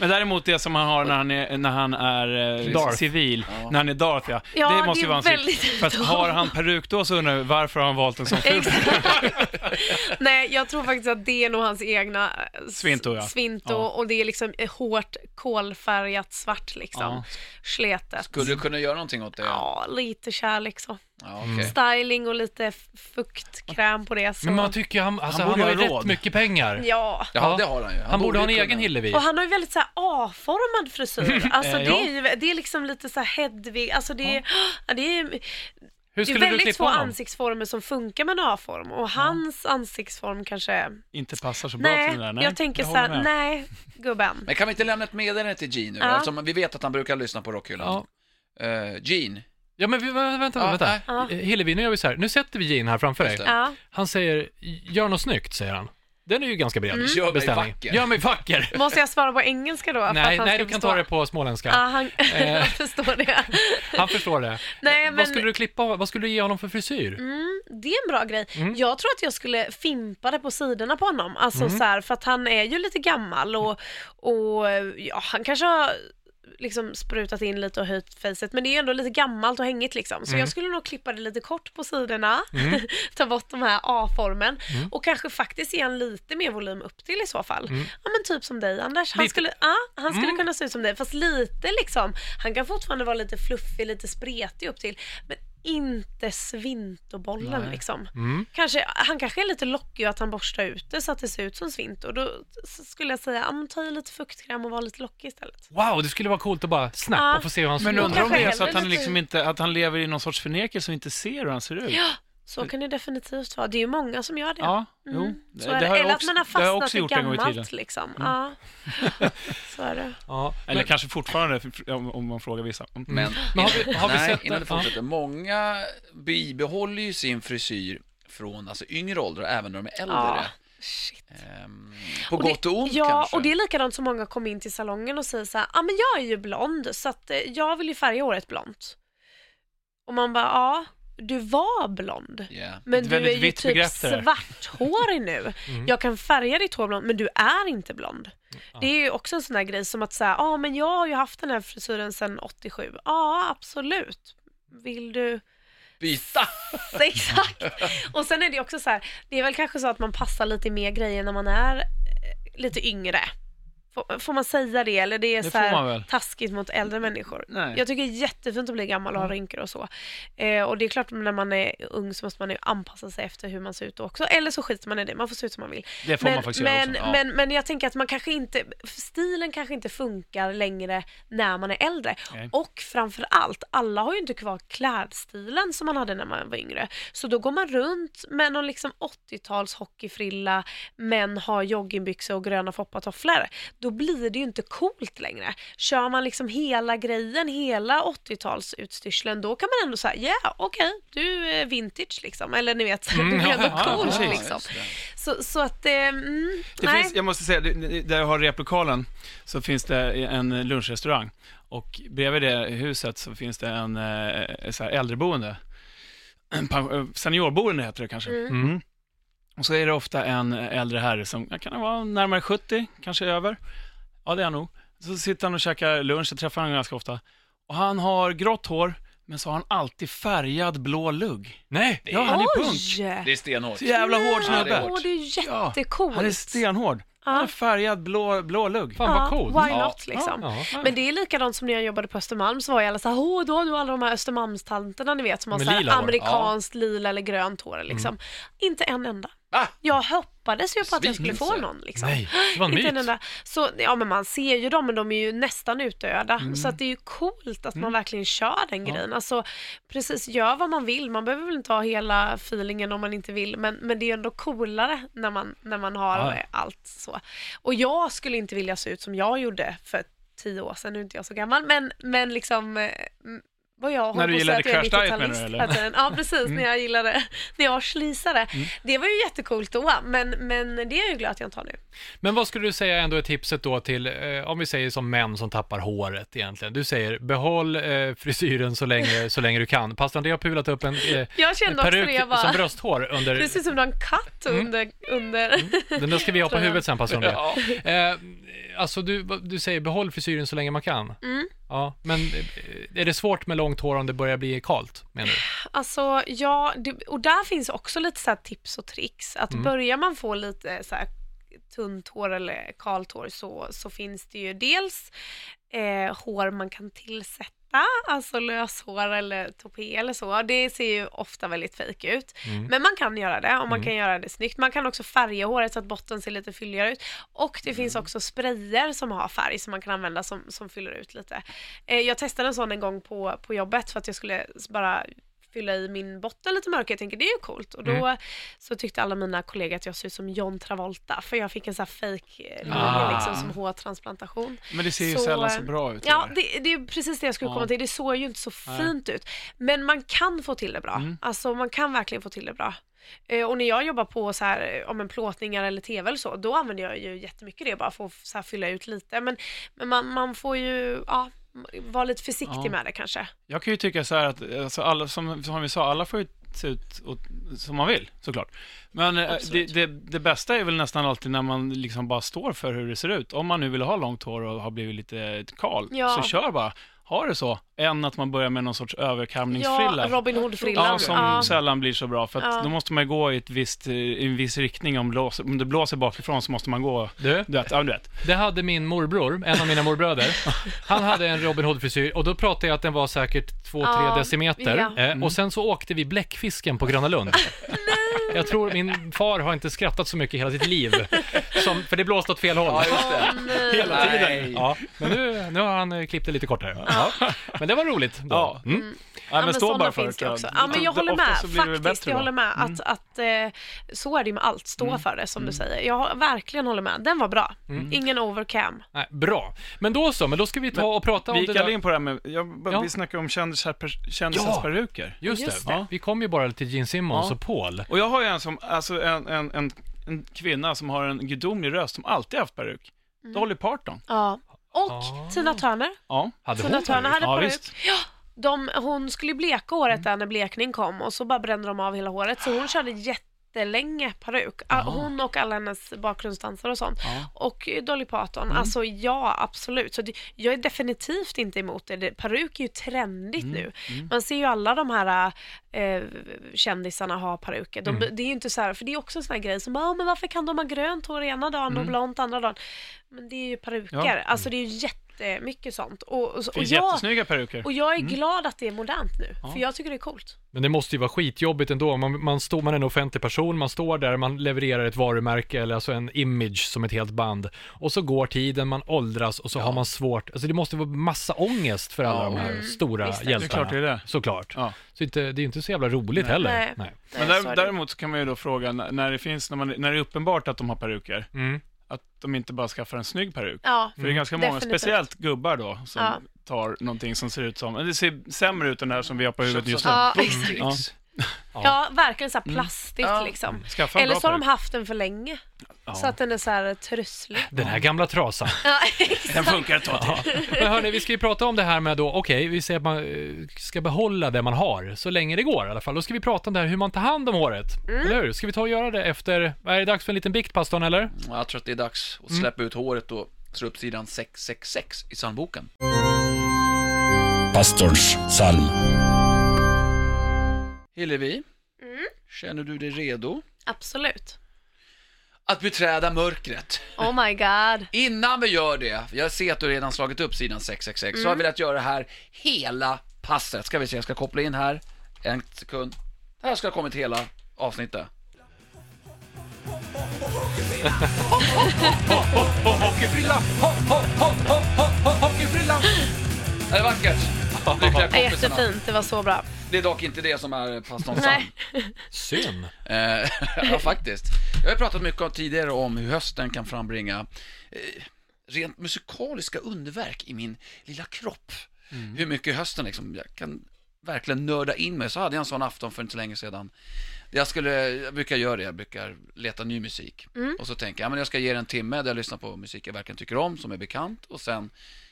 Men däremot det som han har när han är, när han är eh,
Darth.
civil, när han är Darth ja.
Ja,
det måste
det
ju
är
vara hans
väldigt
För att har han peruk då så undrar jag varför har han valt en sån ful
Exakt. Nej, jag tror faktiskt att det är nog hans egna eh, s-
Svinto, ja.
svinto
Ja.
och det är liksom eh, hårt kolfärgat svart liksom.
Ja.
Sletet.
Skulle du kunna göra någonting åt det?
Ja, lite kärlek så.
Ja,
Mm.
okej.
Styling och lite f- fuktkräm på det. Så.
Men man tycker ju han, alltså,
Han
han,
borde
har ju
ha råd.
rätt mycket pengar.
Ja.
ja, det har han ju.
Han, borde ha en
ju
egen
kunna.
Hillevi.
Och han har ju väldigt så här A-formad frisyr. Alltså
Eh,
det
ja.
är ju, det är liksom lite så här Hedvig, alltså det är, ja. det är,
Hur
det är
skulle du
väldigt
klippa
få
honom?
ansiktsformer som funkar med en A-form och hans ansiktsform kanske,
inte passar så bra till
nej,
den där?
jag tänker så
håller
här,
med.
nej gubben.
Men kan vi inte lämna ett meddelande till Gene nu?
Ja.
Eftersom vi vet att han brukar lyssna på Rockhyllan.
Ja.
Eh, Gene,
Ja, men vi- vänta,
Ja,
vänta. vänta.
nej.
Eh, Hillevi, nu gör vi så här. Nu sätter vi Jean här framför dig.
det.
Ja.
Han säger, gör något snyggt, säger han. Den är ju ganska
Mm.
bred.
Gör mig
beställning.
vacker.
Gör mig vacker.
Måste jag svara på engelska då? för att
Nej,
han
nej du
ska Ah.
kan
förstå?
ta det på småländska.
Ja, han
Eh.
jag förstår det.
Han förstår det.
Nej, men Mm.
Vad skulle du klippa, vad skulle du ge honom för frisyr?
det är en bra grej.
Mm.
Jag tror att jag skulle fimpa det på sidorna på honom. Alltså
Mm.
så här, för att han är ju lite gammal och, och ja, han kanske har liksom sprutat in lite och höjt facet men det är ju ändå lite gammalt och hängigt liksom. Så jag skulle nog klippa det lite kort på sidorna, ta bort de här A-formen och kanske faktiskt ge en lite mer volym upp till i så fall. Ja men typ som dig Anders. Han
Lite-
skulle, ja, han skulle kunna se ut som dig fast lite liksom, han kan fortfarande vara lite fluffig, lite spretig upp till men inte svintobollen liksom. Kanske, han kanske är lite lockig och att han borstar ut det så att det ser ut som svint och då s- skulle jag säga, ja, men ta i lite fuktkräm och var lite lockig istället.
Wow, det skulle vara coolt att bara snabbt
Ja.
och få se hur han ser
Men
ut.
undrar om
kanske
det är så
hellre
att han,
lite-
liksom inte, att han lever i någon sorts förnekelse och inte ser hur han ser ut? Ja,
Så kan det definitivt vara. Det är ju många som gör det.
jo.
Mm, Så är det. Eller att man har
det har jag
fastnat
också
i
gjort en gång i
gammalt
tiden. Mm.
liksom. Ja. Så är det.
Ja.
Eller kanske fortfarande, om, om man frågar vissa. Mm.
men...
Men har vi, har vi
Nej,
sett...
innan det
ja.
fortsätter. Många bibehåller ju sin frisyr från alltså, yngre ålder, även när de är äldre.
Ja. Shit.
Ehm, på
Och
gott
det,
och ont
Ja,
kanske.
och det är likadant som många kommer in till salongen och säger så här, ja ah, men jag är ju blond så att eh, jag vill ju färga håret blont. Och man bara, ja, du var blond.
Ja.
Men
Ett
du är
väldigt
ju
vitt
typ
begrepp det där. Mm.
svarthårig nu. Jag kan färga ditt hår blond, men du är inte blond. Det är ju också en sån där grej som att säga, ja ah, men jag har ju haft den här frisyren sedan 87. Ja, absolut. Vill du?
Byta!
Exakt. Och sen är det ju också så här, det är väl kanske så att man passar lite mer grejer när man är eh, lite yngre. Får- Får man säga det eller det är
Det
så
får man väl.
här taskigt mot äldre människor?
Nej. Mm.
Jag tycker det är jättefint att bli gammal och ha rynkor och så. Eh, och det är klart när man är ung så måste man ju anpassa sig efter hur man ser ut då också. Eller så skiter man i det, man får se ut som man vill.
Det får
men,
man faktiskt göra
men,
också. Ja.
men, men jag tänker att man kanske inte, stilen kanske inte funkar längre när man är äldre.
Nej.
Och framför allt, alla har ju inte kvar klädstilen som man hade när man var yngre. Så då går man runt med någon liksom 80-tals hockeyfrilla men har joggingbyxor och gröna foppatofflor. Då blir det ju inte coolt längre. Kör man liksom hela grejen, hela 80-talsutstyrseln, då kan man ändå säga ja, okej, du är vintage liksom. Eller ni vet, det blir ändå
Mm, ja,
coolt
precis.
liksom.
just det.
Så, så att, eh, mm,
Det
nej.
finns, jag måste säga, det- där jag har replokalen så finns det en lunchrestaurang. Och bredvid det huset så finns det en eh, så här äldreboende. En pen- eh, Seniorboende heter det kanske. Mm. Och så är det ofta en äldre herre som, ja, kan han vara närmare 70, kanske över. Ja, det är han nog. Så sitter han och käkar lunch, jag träffar honom ganska ofta. Och han har grått hår, men så har han alltid färgad blå lugg.
Nej!
Ja, han är punk.
Oj!
Det är stenhårt.
Så jävla hård
Ja, det är
snubbe.
Åh, det är ju
Ja,
jättecoolt.
Han är stenhård. Han har färgad blå, blå lugg.
Fan vad coolt.
Why
Ja.
not liksom.
Ja, ja.
Men det är likadant som när jag jobbade på Östermalm så var ju alla såhär, åh då har du alla de här Östermalmstanterna ni vet som har
Med
såhär
lila hår. Mm.
amerikanskt lila eller grönt hår liksom. Inte en enda.
Va?
Jag hoppades ju på att jag skulle få
Besvikelse.
någon liksom.
Ah! Nej, det var en
Inte
myt.
en enda. Så, ja men man ser ju dem men de är ju nästan utdöda.
Mm.
Så att det är ju coolt att man verkligen kör den grejen. Alltså precis, gör vad man vill. Man behöver väl inte ha hela feelingen om man inte vill. Men, men det är ju ändå coolare när man, när man har
Ja.
eh, allt så. Och jag skulle inte vilja se ut som jag gjorde för tio år sedan. Nu är inte jag så gammal men, men liksom eh, m- vad jag håller
du
på att
gillade
säga att jag
Crash
är
Diet menar du,
90-talist
eller? Mm.
hela tiden. Ja precis, när jag gillade, när jag var slisare. Det var ju jättecoolt då men, men det är jag ju glad att jag inte har nu.
Men vad skulle du säga ändå är tipset då till, eh, om vi säger som män som tappar håret egentligen. Du säger behåll eh, frisyren så länge, så länge du kan. Pastor André har pulat upp en, eh,
Jag kände
en
också
peruk
det, jag bara-
som brösthår under...
Det ser ut som du har en katt
Mm.
under... under.
Den där ska vi ha på
Tror jag.
huvudet sen, pastor André.
Ja.
Eh, alltså du, du säger behåll frisyren så länge man kan.
Mm.
Ja, men eh, är det svårt med långt hår om det börjar bli kalt, menar du?
Alltså, ja, det, och där finns också lite så här tips och tricks. Att börjar man få lite så här tunt hår eller kalt hår så, så finns det ju dels eh, hår man kan tillsätta Alltså löshår eller topé eller så. Det ser ju ofta väldigt fejk ut.
Mm.
Men man kan göra det och man kan göra det snyggt. Man kan också färga håret så att botten ser lite fylligare ut. Och det finns också sprayer som har färg som man kan använda som, som fyller ut lite. Eh, jag testade en sån en gång på, på jobbet för att jag skulle bara fylla i min botten lite mörkare. Jag tänker det är ju coolt. Och då så tyckte alla mina kollegor att jag såg ut som John Travolta för jag fick en sån här fake eh, linje
Ah.
liksom som hårtransplantation.
Men det ser ju sällan så bra ut.
eh, Ja,
tyvärr.
det, det är ju precis det jag skulle
typ, Ja.
komma till. Det såg ju inte så fint ut. Men man kan få till det bra.
Mm.
Alltså man kan verkligen få till det bra. Eh, Och när jag jobbar på så här, eh, om en plåtningar eller tv eller så, då använder jag ju jättemycket det bara för att så här fylla ut lite. Men, men man, man får ju, ja, vara lite försiktig
Ja.
med det kanske.
Jag kan ju tycka så här att, alltså alla, som, som vi sa, alla får ju se ut åt, som man vill, såklart. Men eh, det,
Absolut.
det, det bästa är väl nästan alltid när man liksom bara står för hur det ser ut. Om man nu vill ha långt hår och har blivit lite kal,
Ja.
så kör bara. Ha det så, än att man börjar med någon sorts överkamningsfrilla.
Ja, Robin Hood-frillan.
Ja, som
Ja.
sällan blir så bra, för att
Ja.
då måste man ju gå i, ett visst, eh, i en viss riktning. Om, blåser, om det blåser bakifrån så måste man gå...
Du?
Du vet, ja, du vet.
Det hade min morbror, en av mina morbröder. Han hade en Robin Hood-frisyr och då pratade jag att den var säkert 2-3
Ja,
decimeter.
ja.
Eh, Och sen så åkte vi bläckfisken på Gröna Lund. Jag tror min far har inte skrattat så mycket i hela sitt liv. Som, för det blåste åt fel håll.
Ja, just det.
Hela tiden.
Nej.
Ja, men nu, nu har han eh, klippt det lite kortare. Ja. Men det var roligt. Då.
Ja.
Mm.
Nej, men stå
sådana
bara för
finns
tror
det
jag.
också. Ja, men jag håller
Ofta
med
så blir det väl
faktiskt.
bättre
jag
då. Mm.
håller med att, att eh, så är det ju med allt. Stå för det som du säger. Jag har- verkligen håller med. Den var bra.
Mm.
Ingen overcam.
Nej, bra. Men då så, men då ska vi ta och prata om
Vi
det
gick aldrig
där.
in på det här med, jag,
Ja.
vi snackade om kändisar, per- kändisars
Ja.
peruker.
Just,
Just
det.
det.
Ja. Vi kom ju bara till Gene Simmons
Ja.
och Paul.
Och jag har ju en som, alltså en, en, en, en kvinna som har en gudomlig röst som alltid haft peruk. Dolly Parton.
Ja. Och Tina Turner.
Ja.
Hade
Tina
hon
Turner
peruk?
hade
Ja,
peruk.
visst.
Ja,
Mm. Ah.
de, hon skulle ju bleka håret där när blekning kom och så bara brände de av hela håret. Så hon körde jätte jättelänge peruk. Ah, Hon och alla hennes bakgrundsdansare och sånt. Och eh, Dolly Parton,
Mm.
alltså ja absolut. Så det, jag är definitivt inte emot det. det peruk är ju trendigt
Mm.
nu. Man ser ju alla de här eh, kändisarna ha peruker. De,
Mm.
Det är ju inte så här, för det är också en sån här grej som bara, "Ah, men varför kan de ha grönt hår ena dagen och blont andra dagen? Men det är ju peruker.
Mm. Ja.
Alltså det är ju jättemycket sånt. Och, och, så-
Det
och
är
jag,
jättesnygga peruker.
och jag är glad att det är modernt nu, för jag tycker det är coolt.
Men det måste ju vara skitjobbigt ändå. Man, man, står, man är en offentlig person, man står där, man levererar ett varumärke eller alltså en image som ett helt band. Och så går tiden, man åldras och så har man svårt. Alltså det måste vara massa ångest för alla
Ja,
de här stora
Mm. visst är det.
hjältarna.
Det är klart det är det.
Såklart.
Ja.
Så inte, det är ju inte så jävla roligt heller.
Nej.
Nej.
Nej,
Men
så
där,
är det.
däremot så kan man ju då fråga, när när det, finns, när, man, när det är uppenbart att de har peruker,
Mm.
att de inte bara skaffar en snygg peruk.
Ja,
Mm. För det är ganska många,
definitivt.
speciellt gubbar då, som
Ja.
tar någonting som ser ut som, det ser sämre ut än det här som vi har på huvudet just nu.
Ja,
Ja.
exakt.
ja, verkligen så här plastigt
Ja.
liksom.
Mm. Skaffa en
Eller
bra
så har de
peruk.
haft den för länge, så att den är så här trösslig.
Den här gamla trasan.
Ja, exakt.
Den funkar ett tag till.
Men hörni, vi ska ju prata om det här med då, okej, vi säger att man eh, ska behålla det man har så länge det går i alla fall. Då ska vi prata om det här hur man tar hand om håret.
Mm.
Eller hur? Ska vi ta och göra det efter, är det dags för en liten bikt pastorn eller?
Ja, Jag tror att det är dags
Mm.
att släppa ut håret och slå upp sidan 666 i psalmboken.
Pastorns psalm.
Hillevi, känner du dig redo
Absolut.
att beträda mörkret?
Oh my god.
Innan vi gör det, för jag ser att du redan slagit upp sidan 666, så har
Mm.
jag velat göra det här hela passet. Ska vi se, jag ska koppla in här. En sekund. Här ska ha kommit hela avsnittet. Hockeyfrilla! Hopp, hopp, hopp, hopp, hopp, hopp, Hockeyfrilla! Är det vackert? Lyckliga
Ja,
kompisarna.
jättefint, det var så bra.
Det är dock inte det som är pastorns psalm.
Nej.
Syn.
Eh, ja, faktiskt. Jag har pratat mycket om tidigare om hur hösten kan frambringa eh, rent musikaliska underverk i min lilla kropp. Hur mycket hösten liksom, jag kan verkligen nörda in mig. Så hade jag en sån afton för inte så länge sedan. Jag, skulle, jag brukar göra det, jag brukar leta ny musik. Och så tänker jag, ja, men jag ska ge det en timme där jag lyssnar på musik jag verkligen tycker om, som är bekant. Och sen,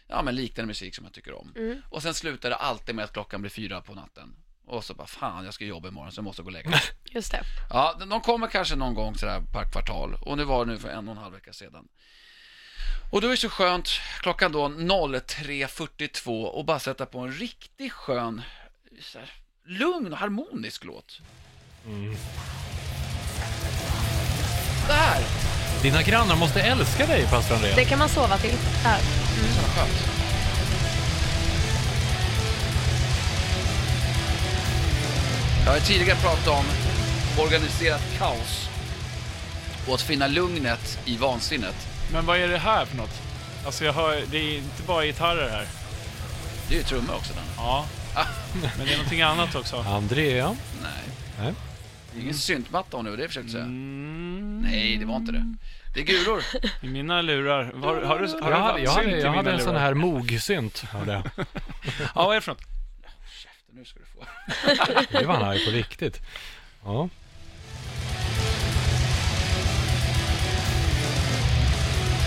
ja men liknande musik som jag tycker om. Och sen slutar det alltid med att klockan blir fyra på natten. Och så bara, fan jag ska jobba imorgon så jag måste gå och lägga mig.
Just det.
Ja, de- de kommer kanske någon gång sådär per kvartal och nu var det nu för en och en halv vecka sedan. Och då är det så skönt klockan då 03.42 och bara sätta på en riktigt skön, så här, lugn och harmonisk låt. Där!
Dina grannar måste älska dig, pastor André.
Det kan man sova till. Här.
Så vad skönt. Jag har tidigare pratat om organiserat kaos och att finna lugnet i vansinnet.
Men vad är det här för något? Alltså jag hör, det är inte bara gitarrer här.
Det är ju trummor också. Den.
Ja. Men det är någonting annat också.
Andrea.
Nej.
Nej.
Det är ingen syntmatta om det var det jag försökte säga.
Mm.
Nej, det var inte det. Det är gulor.
I mina lurar. Har, har du,
Jag
har du
hade, jag hade,
synt i
jag hade
mina
en sån
lurar?
här mogsynt. hörde jag.
Ja, vad är det för något?
Nu ska du få.
Nu var han arg på riktigt. Ja.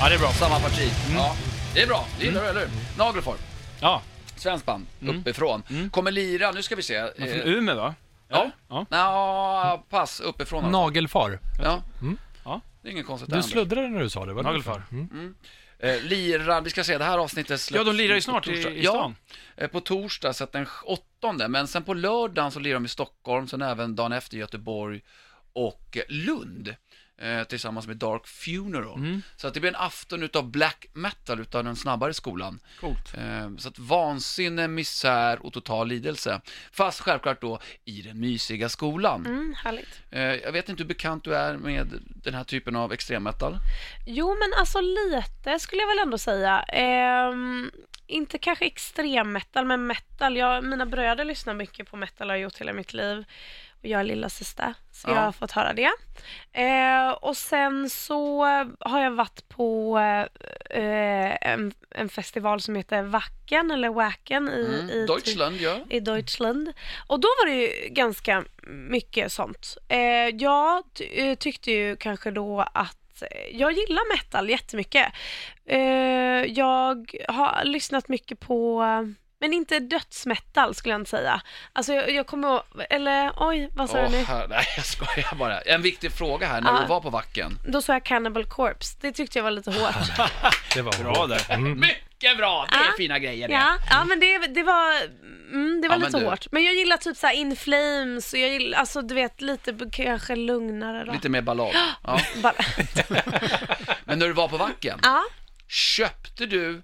Ja, det är bra. Mm.
Samma parti. Ja, det är bra. Det gillar du, eller hur? Nagelform.
Ja,
Svenskt band.
Mm.
Uppifrån. Kommer lira, nu ska vi se. Eh,
från Umeå va?
ja.
Ja.
Nå, pass. Uppifrån. alltså.
Nagelfar.
Ja.
Mm.
ja. Det är ingen konstigt
Du sluddrade när du sa det. Var det
Nagelfar.
Mm.
eh, Lirar, vi ska se, det här avsnittet släpps
Ja, de lirar ju
på
snart i,
torsdag.
i stan.
Ja, eh, på torsdag, så att den åttonde. Men sen på lördagen så lirar de i Stockholm, sen även dagen efter Göteborg och eh, Lund. Eh, tillsammans med Dark Funeral.
Mm.
Så att det blir en afton utav black metal utav den snabbare skolan.
Coolt.
Eh, Så att vansinne, misär och total lidelse. Fast självklart då i den mysiga skolan.
Mm, härligt.
Eh, Jag vet inte hur bekant du är med den här typen av extremmetal.
Jo, men alltså lite skulle jag väl ändå säga. Ehm, inte kanske extremmetal, men metal. Jag, mina bröder lyssnar mycket på metal och har gjort hela mitt liv. Och jag är lilla sista, så
Ja.
jag har fått höra det. Eh, och sen så har jag varit på eh, en, en festival som heter Wacken, eller Wacken i,
Mm,
i
Deutschland, ja.
i Deutschland. Och då var det ju ganska mycket sånt. Eh, jag ty- eh, tyckte ju kanske då att eh, jag gillar metal jättemycket. Eh, jag har lyssnat mycket på Men inte dödsmetal skulle jag inte säga. Alltså jag, jag kommer ihåg, eller oj, vad sa
Åh,
jag nu?
herre- nej, jag skojar bara. En viktig fråga här, när
Ja.
du var på Vacken.
Då sa jag Cannibal Corpse. Det tyckte jag var lite hårt.
Det var Mm.
Bra där.
Mycket bra! Det
är
fina grejer
Ja, ja men det, det var, mm, det var
Ja, men
lite
du-
hårt. Men jag gillar typ såhär In Flames och jag gillar, alltså du vet lite b- kanske lugnare då.
Lite mer ballad. Ja.
Bara,
Men när du var på Vacken,
ja,
köpte du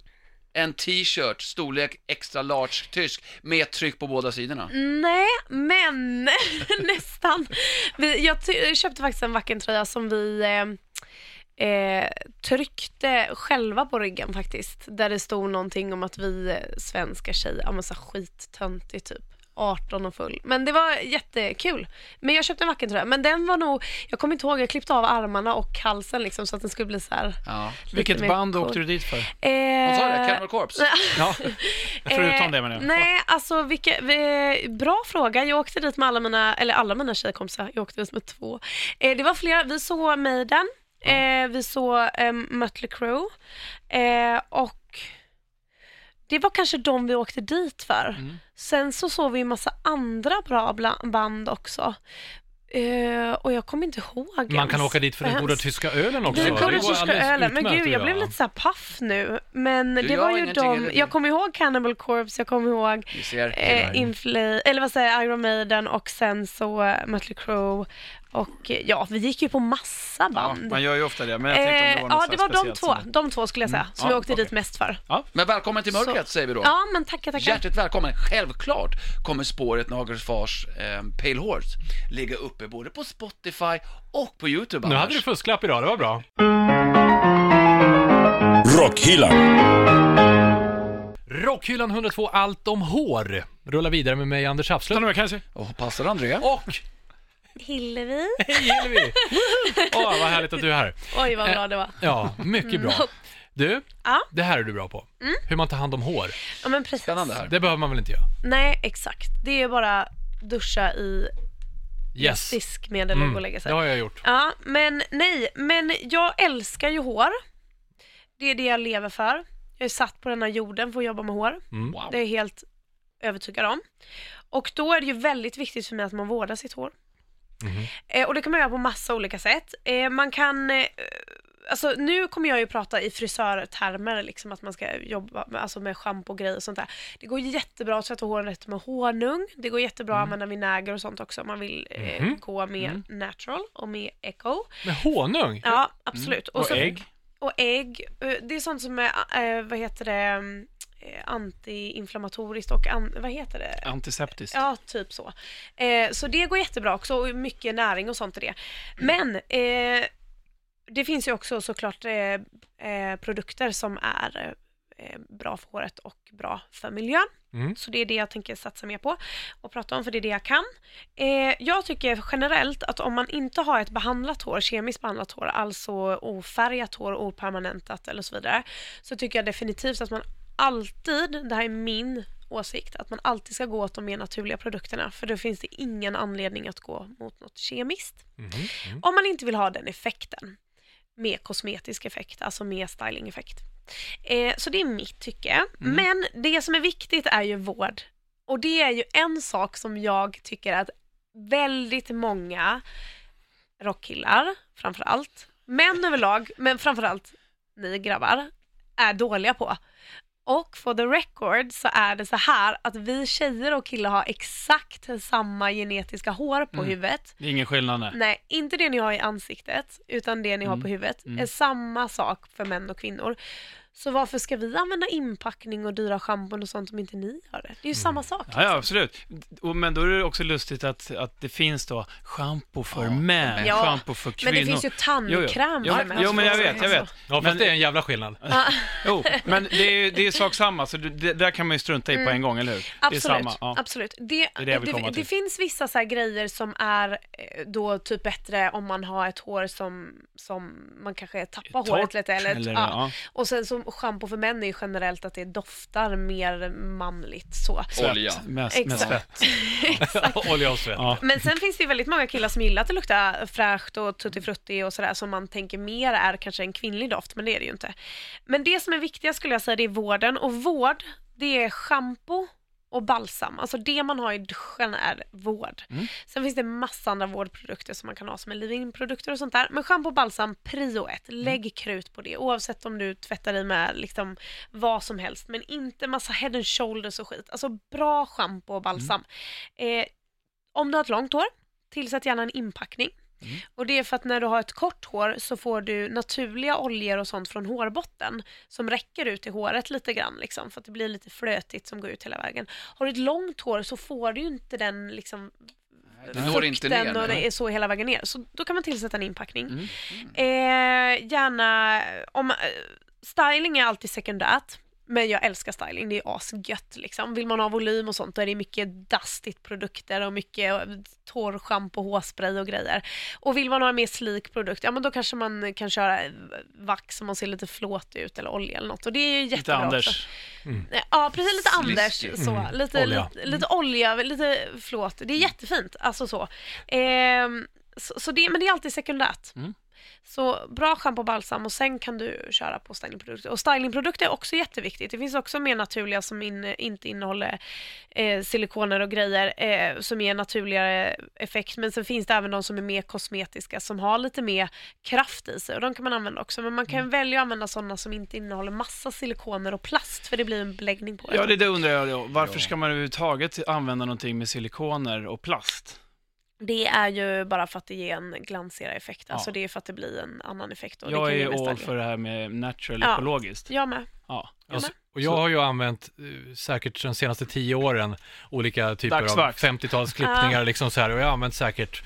en t-shirt storlek extra large tysk med tryck på båda sidorna?
Mm. nej, men nästan. Vi, jag, ty- jag köpte faktiskt en vacker tröja som vi eh, eh, tryckte själva på ryggen faktiskt. Där det stod någonting om att vi eh, svenska tjejer, ja men så här skittöntig typ. 18 och full. Men det var jättekul. Men jag köpte en vacker tröja. Men den var nog, jag kommer inte ihåg, jag klippte av armarna och halsen liksom så att den skulle bli så här.
Ja.
Vilket
mer
band
cool.
åkte du dit för?
Eh,
Vad sa du? Cannibal Corpse?
Ja. Förutom det menar jag.
Nej, alltså vilka, vi, bra fråga. Jag åkte dit med alla mina, eller alla mina tjejkompisar, jag åkte dit med två. Eh, det var flera, vi såg Maiden, eh, vi såg eh, Mötley Crüe eh, och det var kanske de vi åkte dit för.
Mm.
Sen så såg vi en massa andra bra bla- band också. Eh, och jag kommer inte ihåg
Man kan
ens.
åka dit för
Vad
den goda
hemskt.
tyska ölen också.
Det
va?
kom den
går
tyska
alldeles
ölen. Men
utmärkt
gud,
att
jag blev
göra.
lite så här paff nu. Men det
jag
var
har
ju
ingenting
de,
heller.
jag kommer ihåg Cannibal Corpse, jag kommer ihåg
Vi ser.
eh, Infla- eller vad säger jag, Iron Maiden och sen så eh, Mötley Crüe och eh, ja, vi gick ju på massa
Ja,
band.
man gör ju ofta det, men jag tänkte om
Eh,
det var något
ja,
så
det
här
var de
speciellt
två.
som- Mm.
De två skulle jag säga, som
Ja,
jag åkte dit
okej.
mest för.
Men välkommen till mörkret säger vi då.
Ja, men tackar, tackar.
Hjärtligt välkommen! Självklart kommer spåret Nagelfars eh, Pale Horse ligga uppe både på Spotify och på YouTube
Nu
annars.
hade du fusklapp idag, det var bra.
Rockhyllan.
Rockhyllan 102 Allt om hår rullar vidare med mig, Anders
Ta
Hafslund.
några kanske.
Och passar André?
Och
Hillevi.
hej Hillevi! Åh, vad härligt att du är här.
Oj, vad bra det var.
Ja, mycket bra. Du,
Ja. Mm.
det här är du bra på. Hur man tar hand om hår.
Ja, men precis.
Spännande här.
Det behöver man väl inte göra?
Nej, exakt. Det är bara duscha i
Yes.
diskmedel
Mm.
och gå och lägga sig.
Det har jag gjort.
Ja, men nej, men jag älskar ju hår. Det är det jag lever för. Jag är satt på den här jorden för att jobba med hår.
Wow.
Det är jag helt övertygad om. Och då är det ju väldigt viktigt för mig att man vårdar sitt hår. Eh, och det kan man göra på massa olika sätt. Eh, man kan eh, Alltså, nu kommer jag ju prata i frisörtermer, liksom, att man ska jobba med, alltså, med schampo och grejer och sånt där. Det går jättebra att tvätta håren rätt med honung. Det går jättebra att
Mm.
använda vinäger och sånt också om man vill eh,
Mhm.
gå med natural och med eco.
Med honung?
Ja, absolut.
Mm. Och ägg.
Och ägg. Eh, Det är sånt som är, eh, vad heter det, eh, antiinflammatoriskt och an, vad heter det?
Antiseptiskt.
Ja, typ så. Eh, så det går jättebra också och mycket näring och sånt i det. Men eh, det finns ju också såklart eh, eh, produkter som är eh, bra för håret och bra för miljön.
Mm.
Så det är det jag tänker satsa mer på och prata om för det är det jag kan. Eh, jag tycker generellt att om man inte har ett behandlat hår, kemiskt behandlat hår, alltså ofärgat hår, opermanentat eller så vidare, så tycker jag definitivt att man alltid, det här är min åsikt, att man alltid ska gå åt de mer naturliga produkterna för då finns det ingen anledning att gå mot något kemiskt. Om man inte vill ha den effekten med kosmetisk effekt, alltså med stylingeffekt. Eh, så det är mitt tycke. Men det som är viktigt är ju vård. Och det är ju en sak som jag tycker att väldigt många rockkillar, framför allt, män överlag, men framför allt ni grabbar, är dåliga på. Och for the record så är det så här att vi tjejer och killar har exakt samma genetiska hår
Mm.
på huvudet.
Det är ingen skillnad nej.
Nej, inte det ni har i ansiktet, utan det
Mm.
ni har på huvudet är samma sak för män och kvinnor. Så varför ska vi använda inpackning och dyra schampon och sånt om inte ni gör det? Det är ju samma sak.
Mm. Ja, ja, absolut. Och, men då är det också lustigt att, att det finns då schampo för män,
Ja,
schampo för kvinnor.
Men det finns ju
Jo, jo.
tandkräm
Jo,
för
men-
män. Alltså,
Jo, men jag vet, jag vet.
Ja, fast
Men-
det är en jävla skillnad.
Jo, men det är ju det är sak samma, så det, det där kan man ju strunta i på en gång, eller hur?
Mm. Absolut.
Det är samma. Ja.
absolut. Det,
är
det,
det jag vill komma
det,
till.
finns vissa så här grejer som är eh, då typ bättre om man har ett hår som, som man kanske tappar
Torrt
håret lite. Eller,
eller-
ja.
ja.
Och sen som schampo för män är ju generellt att det doftar mer manligt så.
Olja.
Med, med
Exakt.
svett.
Olja och svett.
Ja.
Men sen finns det ju väldigt många killar som gillar att det luktar fräscht och tuttifrutti och sådär som man tänker mer är kanske en kvinnlig doft, men det är det ju inte. Men det som är viktiga skulle jag säga, det är vården och vård det är shampoo och balsam. Alltså det man har i duschen är vård. Sen finns det massa andra vårdprodukter som man kan ha som är leave-in-produkter och sånt där. Men shampoo och balsam, prio ett. Lägg krut på det oavsett om du tvättar dig med liksom vad som helst. Men inte massa head and shoulders och skit. Alltså bra shampoo och balsam. Eh, om du har ett långt hår, tillsätt gärna en inpackning. Och det är för att när du har ett kort hår så får du naturliga oljor och sånt från hårbotten som räcker ut i håret lite grann liksom, för att det blir lite flötigt som går ut hela vägen. Har du ett långt hår så får du ju inte den liksom
Den når inte
fukten
ner,
och
nej. Mm.
det är så hela vägen ner. Så då kan man tillsätta en inpackning. Eh, gärna, om, eh, styling är alltid sekundärt. Men jag älskar styling, det är asgött liksom. Vill man ha volym och sånt då är det mycket dustigt produkter och mycket torrschampo, hårspray och grejer. Och vill man ha en mer slik produkt, ja men då kanske man kan köra eh, vax som man ser lite flåt ut eller olja eller något. Och det är ju
Lite
jättebra också.
Anders.
Ja, precis. Lite
Sliskigt.
Anders. Så. Lite,
Olja.
Lite, lite olja, lite flåt. Det är jättefint. Alltså så. Ehm, så, så det, men det är alltid sekundärt. Så bra schampo och balsam och sen kan du köra på stylingprodukter. Och stylingprodukter är också jätteviktigt. Det finns också mer naturliga som in, inte innehåller eh, silikoner och grejer eh, som ger naturligare effekt. Men sen finns det även de som är mer kosmetiska som har lite mer kraft i sig och de kan man använda också. Men man kan
Mm.
välja att använda sådana som inte innehåller massa silikoner och plast för det blir en beläggning på det.
Ja, det, det undrar jag då. Varför ska man överhuvudtaget använda någonting med silikoner och plast?
Det är ju bara för att det ger en glansigare effekt. Alltså
Ja.
det är för att det blir en annan effekt. Och det
Jag
kan ge
är
mest
all
ugly.
för det här med natural
Ja.
ekologiskt.
Jag med.
Ja.
Jag, och jag har ju använt eh, säkert de senaste tio åren olika typer
Dagsvax.
av 50-talsklippningar liksom så här och jag har använt säkert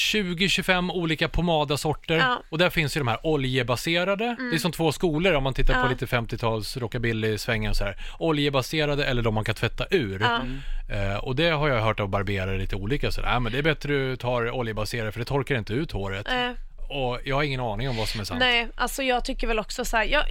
20-25 olika pomadasorter
Ja. Mm.
och där finns ju de här oljebaserade. Det är som två skolor om man tittar
Ja.
på lite 50-tals rockabilly-svängen så här. Oljebaserade eller de man kan tvätta ur.
Ja.
Eh, och det har jag hört av barberare lite olika så där. men det är bättre du tar oljebaserade för det torkar inte ut håret.
Eh,
Och jag har ingen aning om vad som är sant.
nej, alltså jag tycker väl också så här. Jag,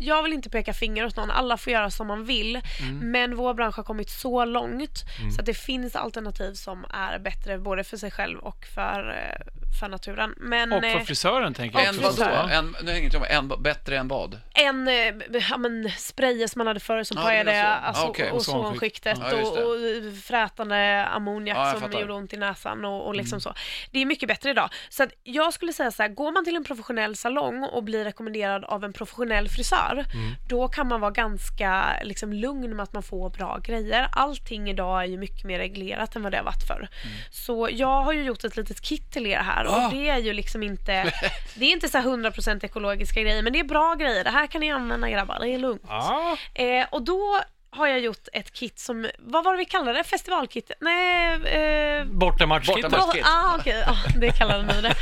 jag vill inte peka finger åt någon. Alla får göra som man vill.
Mm.
Men vår bransch har kommit så långt så att det finns alternativ som är bättre både för sig själv och för, eh, för naturen. Men
Och för
eh,
frisören tänker jag
En
också.
vad då?
så här.
En, nu hänger inte jag med. En, vad- bättre än vad?
en eh, b- ja, men, sprayer som man hade förr som
Ja, det
pajade
menar jag så.
alltså,
Ja, okej.
ozonskiktet
Ja, just
och,
det.
och frätande ammoniak
Ja, jag
som
fattar. Mm.
gjorde ont i näsan och, och liksom så. Det är mycket bättre idag. Så att jag skulle säga så här, går man till en professionell salong och blir rekommenderad av en professionell frisör,
Mm.
då kan man vara ganska liksom, lugn med att man får bra grejer. Allting idag är ju mycket mer reglerat än vad det har varit förr.
Mm.
Så jag har ju gjort ett litet kit till er här
Ah!
och det är ju liksom inte, det är inte så här 100% ekologiska grejer, men det är bra grejer. Det här kan ni använda grabbar, det är lugnt.
Ah.
Eh, och då har jag gjort ett kit som, vad var det vi kallade det? Festivalkit? Nej, eh,
Bortamatchkittet.
Bortamatch. Festivalkit.
Ah, okej. Ja, det kallar ni det.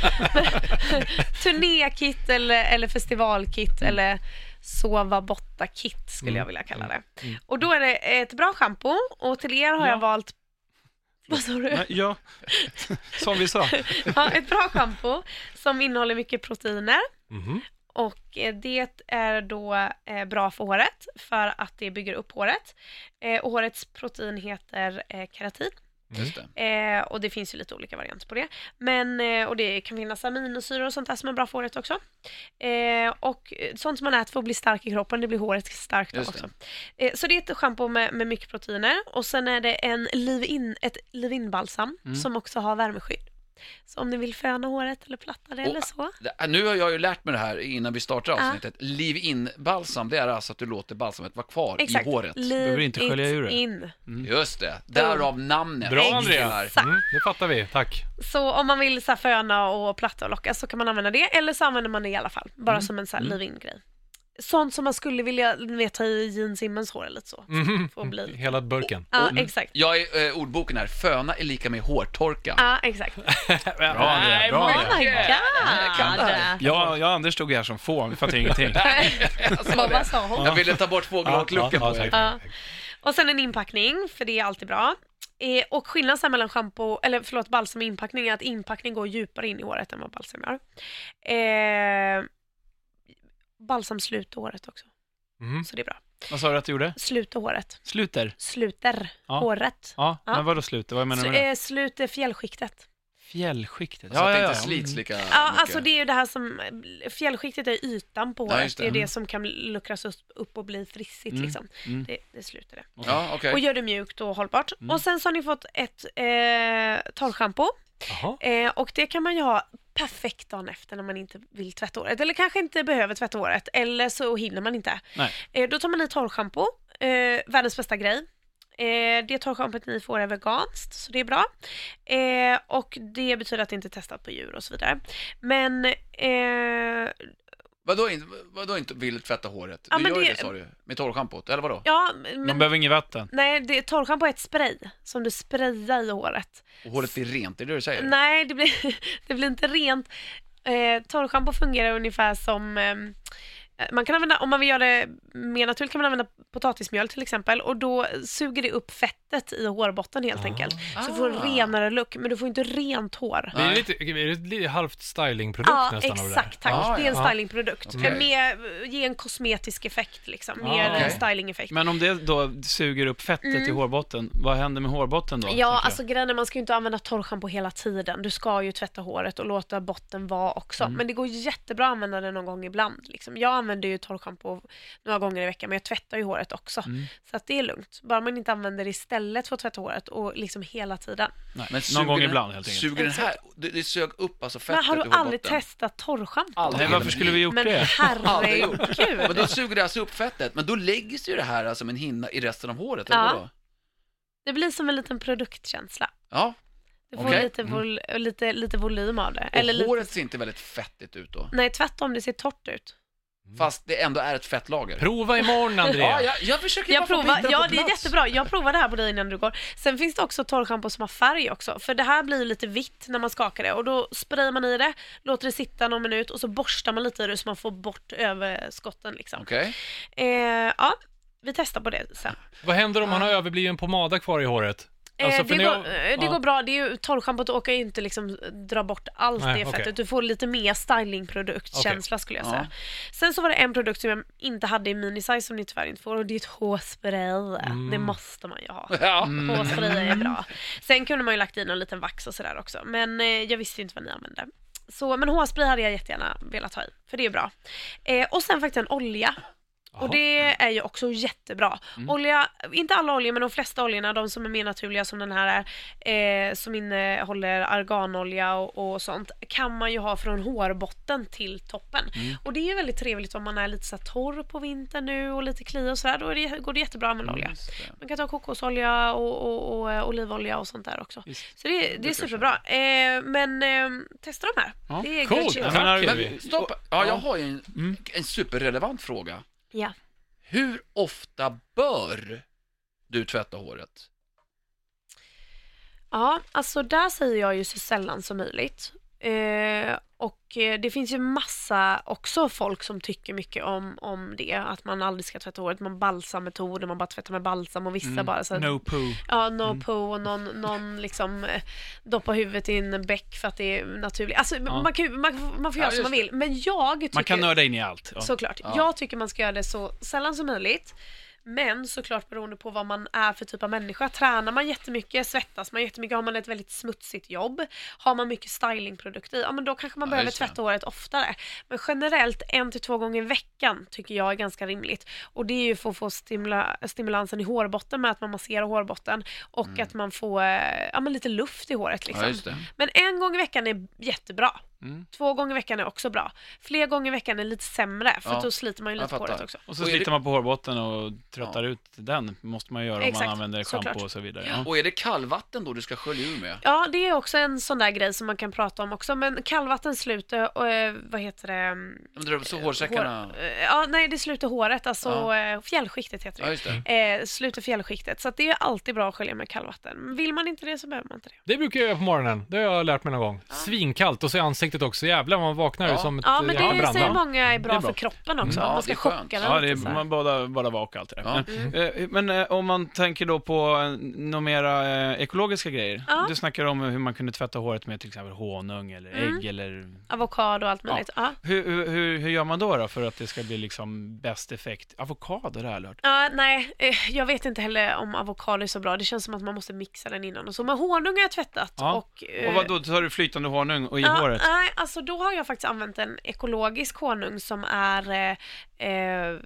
Turnékit eller, eller festivalkit
Mm.
eller sova borta-kit skulle jag vilja kalla det. Och då är det ett bra shampoo och till er har
Mm. Ja.
jag valt... Vad sa du?
Nej, ja, som vi sa.
Ja, ett bra shampoo som innehåller mycket proteiner.
Mhm.
Och eh, det är då eh, bra för håret för att det bygger upp håret. Eh, och hårets protein heter eh, keratin.
Just det.
Eh, och det finns ju lite olika varianter på det. Men, eh, och det kan finnas aminosyror och sånt där som är bra för håret också. Eh, och eh, sånt som man äter för att bli stark i kroppen, det blir håret starkt av
Just
också. Eh, så det är ett schampo med, med mycket proteiner. Och sen är det en leave-in, ett leave-in balsam
Mm.
som också har värmeskydd. Så om ni vill föna håret eller platta det
Och-
eller så.
Det- Äh, Nu har jag ju lärt mig det här innan vi startar
Ja.
avsnittet. Leave in balsam, det är alltså att du låter balsamet vara kvar
Exakt.
i håret.
Leave
inte
it
skölja ur det.
in.
Just det, därav namnet.
Mm. Bra
Exakt.
Andrea! Mm, det fattar vi, tack.
Så om man vill så här, föna och platta och locka så kan man använda det. Eller så använder man det i alla fall. Bara som en så här, leave-in grej. Sånt som man skulle vilja ni vet, ta i Gene Simmons hår eller så. Får bli.
Hela burken.
Ja, exakt.
Jag är eh, ordboken här, föna är lika med hårtorka.
Ja, exakt.
Bra
Andrea, bra,
Oh my god!
Ja, jag och Anders stod här som fån, vi fattar ingenting.
Så vad sa hon?
Jag ville ta bort fågelholklucken
ja,
på er.
tack.
Ja. Och sen en inpackning, för det är alltid bra. Eh, och skillnaden så här mellan shampoo, eller förlåt, balsam och inpackning är att inpackning går djupare in i håret än vad balsam gör. Eh, balsam sluter håret också.
Mm.
Mhm.
Så det är bra.
Vad sa du att du gjorde?
Sluter håret.
Sluter?
Sluter
Ja.
håret.
Ja,
Ja.
men vadå sluter? Vad menar du
S-
med det?
eh, sluter fjällskiktet.
Fjällskiktet.
Så att det inte slits lika
Ja, alltså det är ju det här som, fjällskiktet är ytan på
Ja,
håret.
just
det.
det.
är det
Mm.
som kan luckras upp- upp och bli frissigt
Mm.
liksom.
Mm.
Det, det slutar det.
Ja, okej.
Och gör det mjukt och hållbart. Och sen så har ni fått ett eh, torrschampo.
Jaha.
Eh, och det kan man ju ha perfekt dagen efter när man inte vill tvätta håret. Eller kanske inte behöver tvätta håret. Eller så hinner man inte.
Nej.
Eh, då tar man i torrschampo. Eh, världens bästa grej. Eh, det torrschampot ni får är veganskt, så det är bra. Eh, och det betyder att det inte är testat på djur och så vidare. Men, eh,
Vadå, inte, vadå inte vill tvätta håret?
Ja,
du
men
gör ju
det-
det sa du Med torrschampot, eller vadå?
ja,
Man
men,
behöver inget vatten.
nej, det, torrschampo är ett spray som du sprayar i håret.
Och håret blir rent, det är det du säger?
Nej, det blir, det blir inte rent. Eh, torrschampo fungerar ungefär som ehm, man kan använda, om man vill göra det mer naturligt kan man använda potatismjöl till exempel och då suger det upp fettet i hårbotten
Ah.
helt enkelt. Så du får en
Ah.
renare look, men du får inte rent hår.
Det är lite, är det lite halvt stylingprodukt
Ja,
nästan av det där.
exakt. Tack.
Ah,
det är en
ja.
stylingprodukt.
Okej.
Mer, ge en kosmetisk effekt liksom,
Ah,
mer
okej.
en stylingeffekt.
Men om det då suger upp fettet i hårbotten, vad händer med hårbotten då? tänker
Mm. Ja,
jag?
alltså grejen är man ska ju inte använda torrschampo hela tiden. Du ska ju tvätta håret och låta botten vara också. Men det går jättebra att använda det någon gång ibland. Liksom. Jag använder ju torrschampo några gånger i veckan, men jag tvättar ju håret också. Så att det är lugnt. Bara man inte använder det istället för att tvätta håret och liksom hela tiden.
Nej.
Men
Någon
suger
gång
den-
ibland helt enkelt.
Suger den här, det, det sög upp alltså fettet
men har
i
du
hårbotten?
aldrig testat torrschampo?
Aldrig.
Nej, varför skulle vi gjort
Men
det?
Aldrig gjort. Men
herregud.
då suger det alltså upp fettet, men då lägger sig ju det här alltså som en hinna i resten av håret,
Ja.
eller vadå?
Det blir som en liten produktkänsla.
Ja,
Du får
Okej.
lite, vol- lite, lite volym av det.
och
Eller lite...
håret ser inte väldigt fettigt ut då.
Nej, tvärtom. Det ser torrt ut.
Fast det ändå är ett fettlager.
Prova imorgon, André.
Ja, jag, jag försöker bara
Jag
få
provar,
bitarna
ja
på
det är
plats.
jättebra. Jag provar det här på dig innan du går. Sen finns det också torrschampo som har färg också. För det här blir ju lite vitt när man skakar det och då sprayar man i det, låter det sitta någon minut och så borstar man lite i det så man får bort överskotten liksom.
Okej.
Eh, ja, vi testar på det sen.
Vad händer om man har överbliven pomada kvar i håret? Alltså,
eh,
för
det
när
går,
jag-
eh, det
ja.
går bra, det är ju, torrschampot åker ju inte liksom dra bort allt
Nej,
det
okej.
fettet. Du får lite mer stylingproduktkänsla skulle jag
Ja.
säga. Sen så var det en produkt som jag inte hade i minisize som ni tyvärr inte får och det är ett hårspray. Det
Mm.
måste man ju ha.
Ja.
Hårspray är bra. Sen kunde man ju lagt i någon liten vax och sådär också. Men eh, jag visste ju inte vad ni använde. Så, men hårspray hade jag jättegärna velat ha i, för det är bra. Eh, och sen faktiskt en olja. Och det är ju också jättebra. Olja, inte alla oljor men de flesta oljorna, de som är mer naturliga som den här är, eh, som innehåller arganolja och, och sånt, kan man ju ha från hårbotten till toppen. Och det är ju väldigt trevligt om man är lite så här torr på vintern nu och lite kli och sådär, då är det, går det jättebra att använda olja.
Mm.
Man kan ta kokosolja och, och, och eh, olivolja och sånt där också. Så det, det är superbra. Eh, men eh, testa de här.
Ja,
Det är
coolt.
good shit.
Jag
Ja.
menar,
Okej.
Men stopp, ja, jag har ju en,
Mm.
en superrelevant fråga.
Ja.
Hur ofta bör du tvätta håret?
Ja, alltså där säger jag ju så sällan som möjligt. Eh, och eh, det finns ju massa också folk som tycker mycket om, om det, att man aldrig ska tvätta håret, man balsammetoder, man bara tvättar med balsam och vissa bara så här,
Mm. No Mm. poo.
ja, no poo och någon, någon liksom eh, doppar huvudet i en bäck för att det är naturligt. Alltså man, kan, ju- man, man får
Ja,
göra som
just
man vill, men jag tycker...
Man kan nörda in i allt. Ja.
Såklart. Jag tycker man ska göra det så sällan som möjligt. Men såklart beroende på vad man är för typ av människa. Tränar man jättemycket, svettas man jättemycket, har man ett väldigt smutsigt jobb, har man mycket stylingprodukter i, ja men då kanske man
Ja,
behöver
just det.
tvätta håret oftare. Men generellt en till två gånger i veckan tycker jag är ganska rimligt. Och det är ju för att få stimula, stimulansen i hårbotten med att man masserar hårbotten och att man får eh, ja, men lite luft i håret liksom.
Mm. Ja, just det.
Men en gång i veckan är jättebra.
Mm.
Två gånger i veckan är också bra. Fler gånger i veckan är lite sämre, för
Ja.
att då sliter man ju
Jag
lite på
fattar.
det också.
Och så
Och är det-
sliter man på hårbotten och tröttar ut den. måste man göra om
Exakt,
man använder
såklart.
schampo och så vidare. Ja.
Och är det kallvatten då du ska skölja ur med?
Ja, det är också en sån där grej som man kan prata om också. Men kallvatten sluter, och, eh, vad heter det?
Om du drar upp så hårsäckarna?
Hår, eh, ja, nej, det sluter håret, alltså
Ja.
eh, fjällskiktet heter
Ja, just det.
Eh, sluter fjällskiktet, så att det är alltid bra att skölja med kallvatten. Vill man inte det så behöver man inte det.
Det brukar jag göra på morgonen. Det har jag lärt mig någon gång. Svinkallt och så är riktigt också. Jävlar man vaknar
Ja.
som ett eh,
Ja, men
jävla
det
brand.
säger många är bra,
Det är bra.
för kroppen också.
Mm. Ja,
man
det
ska
är skönt.
chocka den
Ja, det
lite. så
är,
här.
man badar, badar vak och allt det där.
Ja.
Mm.
Men, eh, men eh, om man tänker då på eh, några mera eh, ekologiska grejer.
Ja.
Du snackar om hur man kunde tvätta håret med till exempel honung eller
Mm.
ägg eller...
Avokado och allt möjligt. Ja.
Hur, hur, hur, hur gör man då, då för att det ska bli liksom bäst effekt? Avokado, det har jag hört.
Ja, nej, eh, jag vet inte heller om avokado är så bra. Det känns som att man måste mixa den innan och så. Men honung har jag tvättat.
Ja.
Och, eh,
Och vad då tar du flytande honung och i
ja,
håret?
Nej, alltså då har jag faktiskt använt en ekologisk honung som är eh, eh,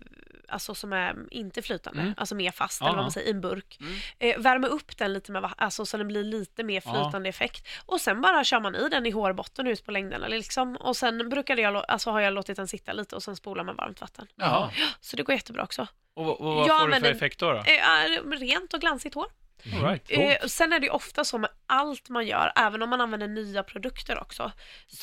Alltså som är inte flytande, alltså mer fast eller
Mm. Ja. Mm.
vad man säger, i en burk. Eh, värme upp den lite med va- alltså så den blir lite mer flytande effekt. Och sen bara kör man i den i hårbotten ut på längderna liksom. Och sen brukade jag, lå- alltså har jag låtit den sitta lite och sen spolar med varmt vatten.
Jaha.
Så det går jättebra också.
Och, vad- och vad
Ja,
får du
men
för
det-
effekt då? då?
Eh, ja, rent och glansigt hår.
All right.
Eh, sen är det ju ofta så med allt man gör, även om man använder nya produkter också.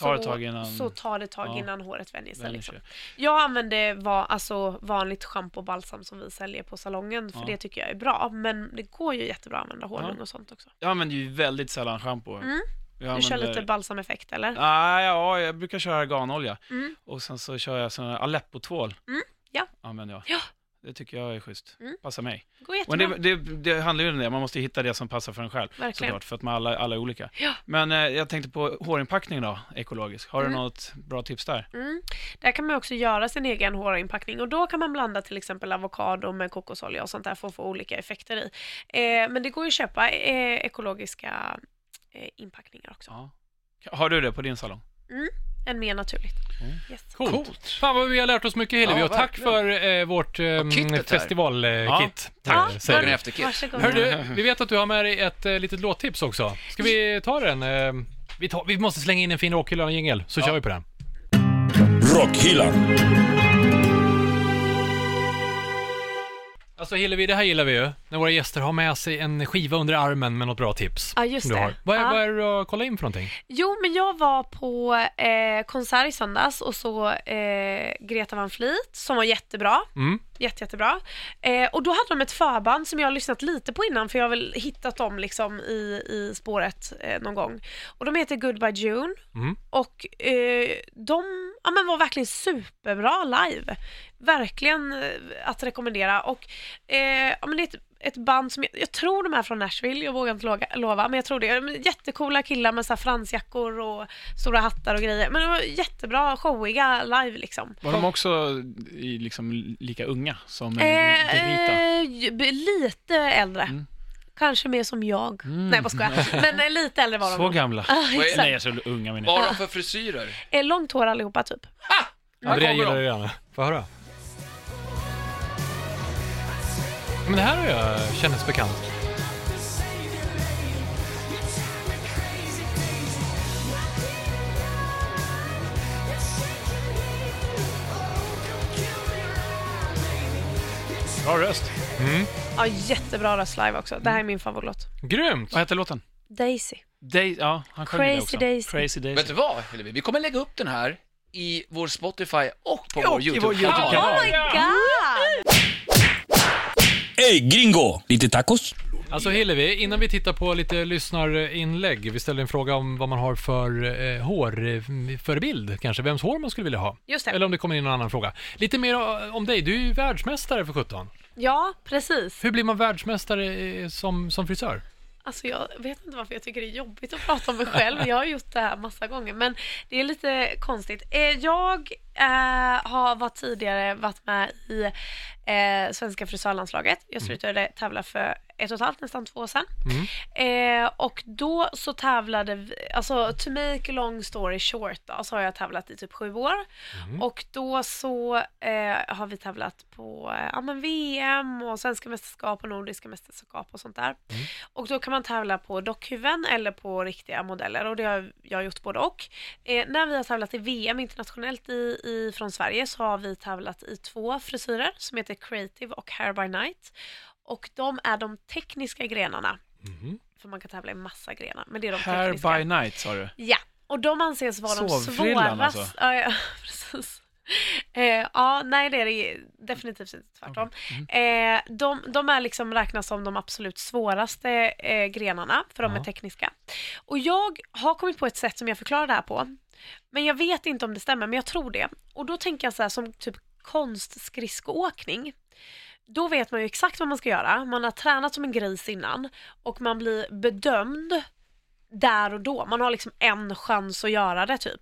tar
så,
det tag innan-
så tar det tag
ja,
innan håret vänjer sig.
vänjer
Liksom.
sig.
Jag använder va, alltså, vanligt schampo och balsam som vi säljer på salongen, för
Ja.
det tycker jag är bra. Men det går ju jättebra att använda honung och sånt också.
Jag använder ju väldigt sällan schampo.
Mm.
Jag
Du kör
använder-
lite balsameffekt eller?
Nej, ja, jag brukar köra arganolja.
Mm.
Och sen så kör jag sån här Aleppo-tvål.
Mm, ja.
Använder jag.
Ja.
Det tycker jag är schysst.
Mm.
Passar mig.
Det går
Och
jättebra.
det, det, det handlar ju om det, man måste hitta det som passar för en själv.
Verkligen.
Såklart, för att man alla, alla är olika.
Ja.
Men eh, jag tänkte på hårinpackning då, ekologisk. Har du något bra tips där?
Mm. Där kan man också göra sin egen hårinpackning och då kan man blanda till exempel avokado med kokosolja och sånt där för att få olika effekter i. Eh, men det går ju att köpa eh, ekologiska eh, inpackningar också.
Ja. Har du det på din salong?
Än mer naturligt.
Mm.
Yes.
Coolt. Fan vad vi har lärt oss mycket Hillevi
Ja,
och tack
verkligen.
för eh, vårt eh,
kittet här.
festivalkit. Eh,
Ja,
kit.
tack.
Eh,
Dagen
säger vi.
efter Kiss.
Varsågod.
Hör du, vi vet att du har med dig ett eh, litet låttips också. Ska vi ta den? Eh, vi, tar, vi måste slänga in en fin Rockhyllan-jingel, så kör vi på den.
Rockhyllan.
Alltså Hillevi, det här gillar vi ju. När våra gäster har med sig en skiva under armen med något bra tips.
Ja, just
som du
det.
har. Vad, är,
Ja.
vad är det du har kollat in för någonting?
Jo, men jag var på eh, konsert i söndags och så eh, Greta Van Fleet som var jättebra.
Mm.
Jätte, jättebra. Eh, och då hade de ett förband som jag har lyssnat lite på innan för jag har väl hittat dem liksom i, i spåret eh, någon gång. Och de heter Goodbye June
Mm.
och eh, de ja, men var verkligen superbra live. Verkligen eh, att rekommendera och eh, ja, men det är ett, ett band som, jag, jag tror de är från Nashville, jag vågar inte loga, lova, men jag tror det. De är Jättekola killar med så här fransjackor och stora hattar och grejer. Men de var jättebra, showiga live liksom.
Var de också i, liksom, lika unga som eh, Rita?
Eh, ju- b- lite äldre. Kanske mer som jag. Nej, vad ska jag? Men eh, lite äldre var de.
Så gamla?
Ah,
Vad är-
exakt.
Nej, så unga menar
Vad
jag.
har de för frisyrer?
Eh, Långt hår allihopa typ.
Andrea
kommer
gillar
de.
det gärna. Får jag höra? Men det här har jag kändes bekant.
Bra röst.
Ja, jättebra röst live också. Det här är min favoritlåt.
Grymt!
Vad heter låten?
Daisy.
Day, ja, han sjöng
Crazy
det också.
Daisy.
Crazy Daisy.
Vet du vad, Hillevi? Vi kommer lägga upp den här i vår Spotify och på vår
i vår
YouTube-kanal.
YouTube-kanal.
Oh my god!
Ey gringo, lite tacos?
Alltså Hillevi, innan vi tittar på lite lyssnarinlägg, vi ställde en fråga om vad man har för eh, hårförebild kanske, vems hår man skulle vilja ha.
Just det.
Eller om det kommer in någon annan fråga. Lite mer eh, om dig, du är ju världsmästare för 17.
Ja, precis.
Hur blir man världsmästare eh, som, som frisör?
Alltså jag vet inte varför jag tycker det är jobbigt att prata om mig själv. Jag har gjort det här massa gånger, men det är lite konstigt. Eh, Jag eh, har varit tidigare varit med i eh, svenska frisörlandslaget. Jag slutade tävla för ett och ett halvt, nästan två år sedan. Eh, och då så tävlade vi, alltså to make a long story short då, så har jag tävlat i typ sju år.
Mm.
Och då så eh, har vi tävlat på eh, ja, men VM och svenska mästerskap och nordiska mästerskap och sånt där.
Mm.
Och då kan man tävla på dockhuvuden eller på riktiga modeller och det har jag gjort både och. Eh, när vi har tävlat i VM internationellt i, i, från Sverige så har vi tävlat i två frisyrer som heter Creative och Hair by Night. Och de är de tekniska grenarna. För man kan tävla i massa grenar, men det är de
Mm. Hair
tekniska.
by night sa du.
Ja, och de anses vara de
Sovfrillan,
svåraste.
alltså?
Ja, ja, precis. Eh, ja, nej det är det definitivt inte, tvärtom.
mm.
Eh, de, de är liksom räknas som de absolut svåraste eh, grenarna, för de är tekniska. Och jag har kommit på ett sätt som jag förklarar det här på, Men jag vet inte om det stämmer, men jag tror det. Och då tänker jag så här som typ konstskridskoåkning. Då vet man ju exakt vad man ska göra. Man har tränat som en gris innan och man blir bedömd där och då. Man har liksom en chans att göra det typ.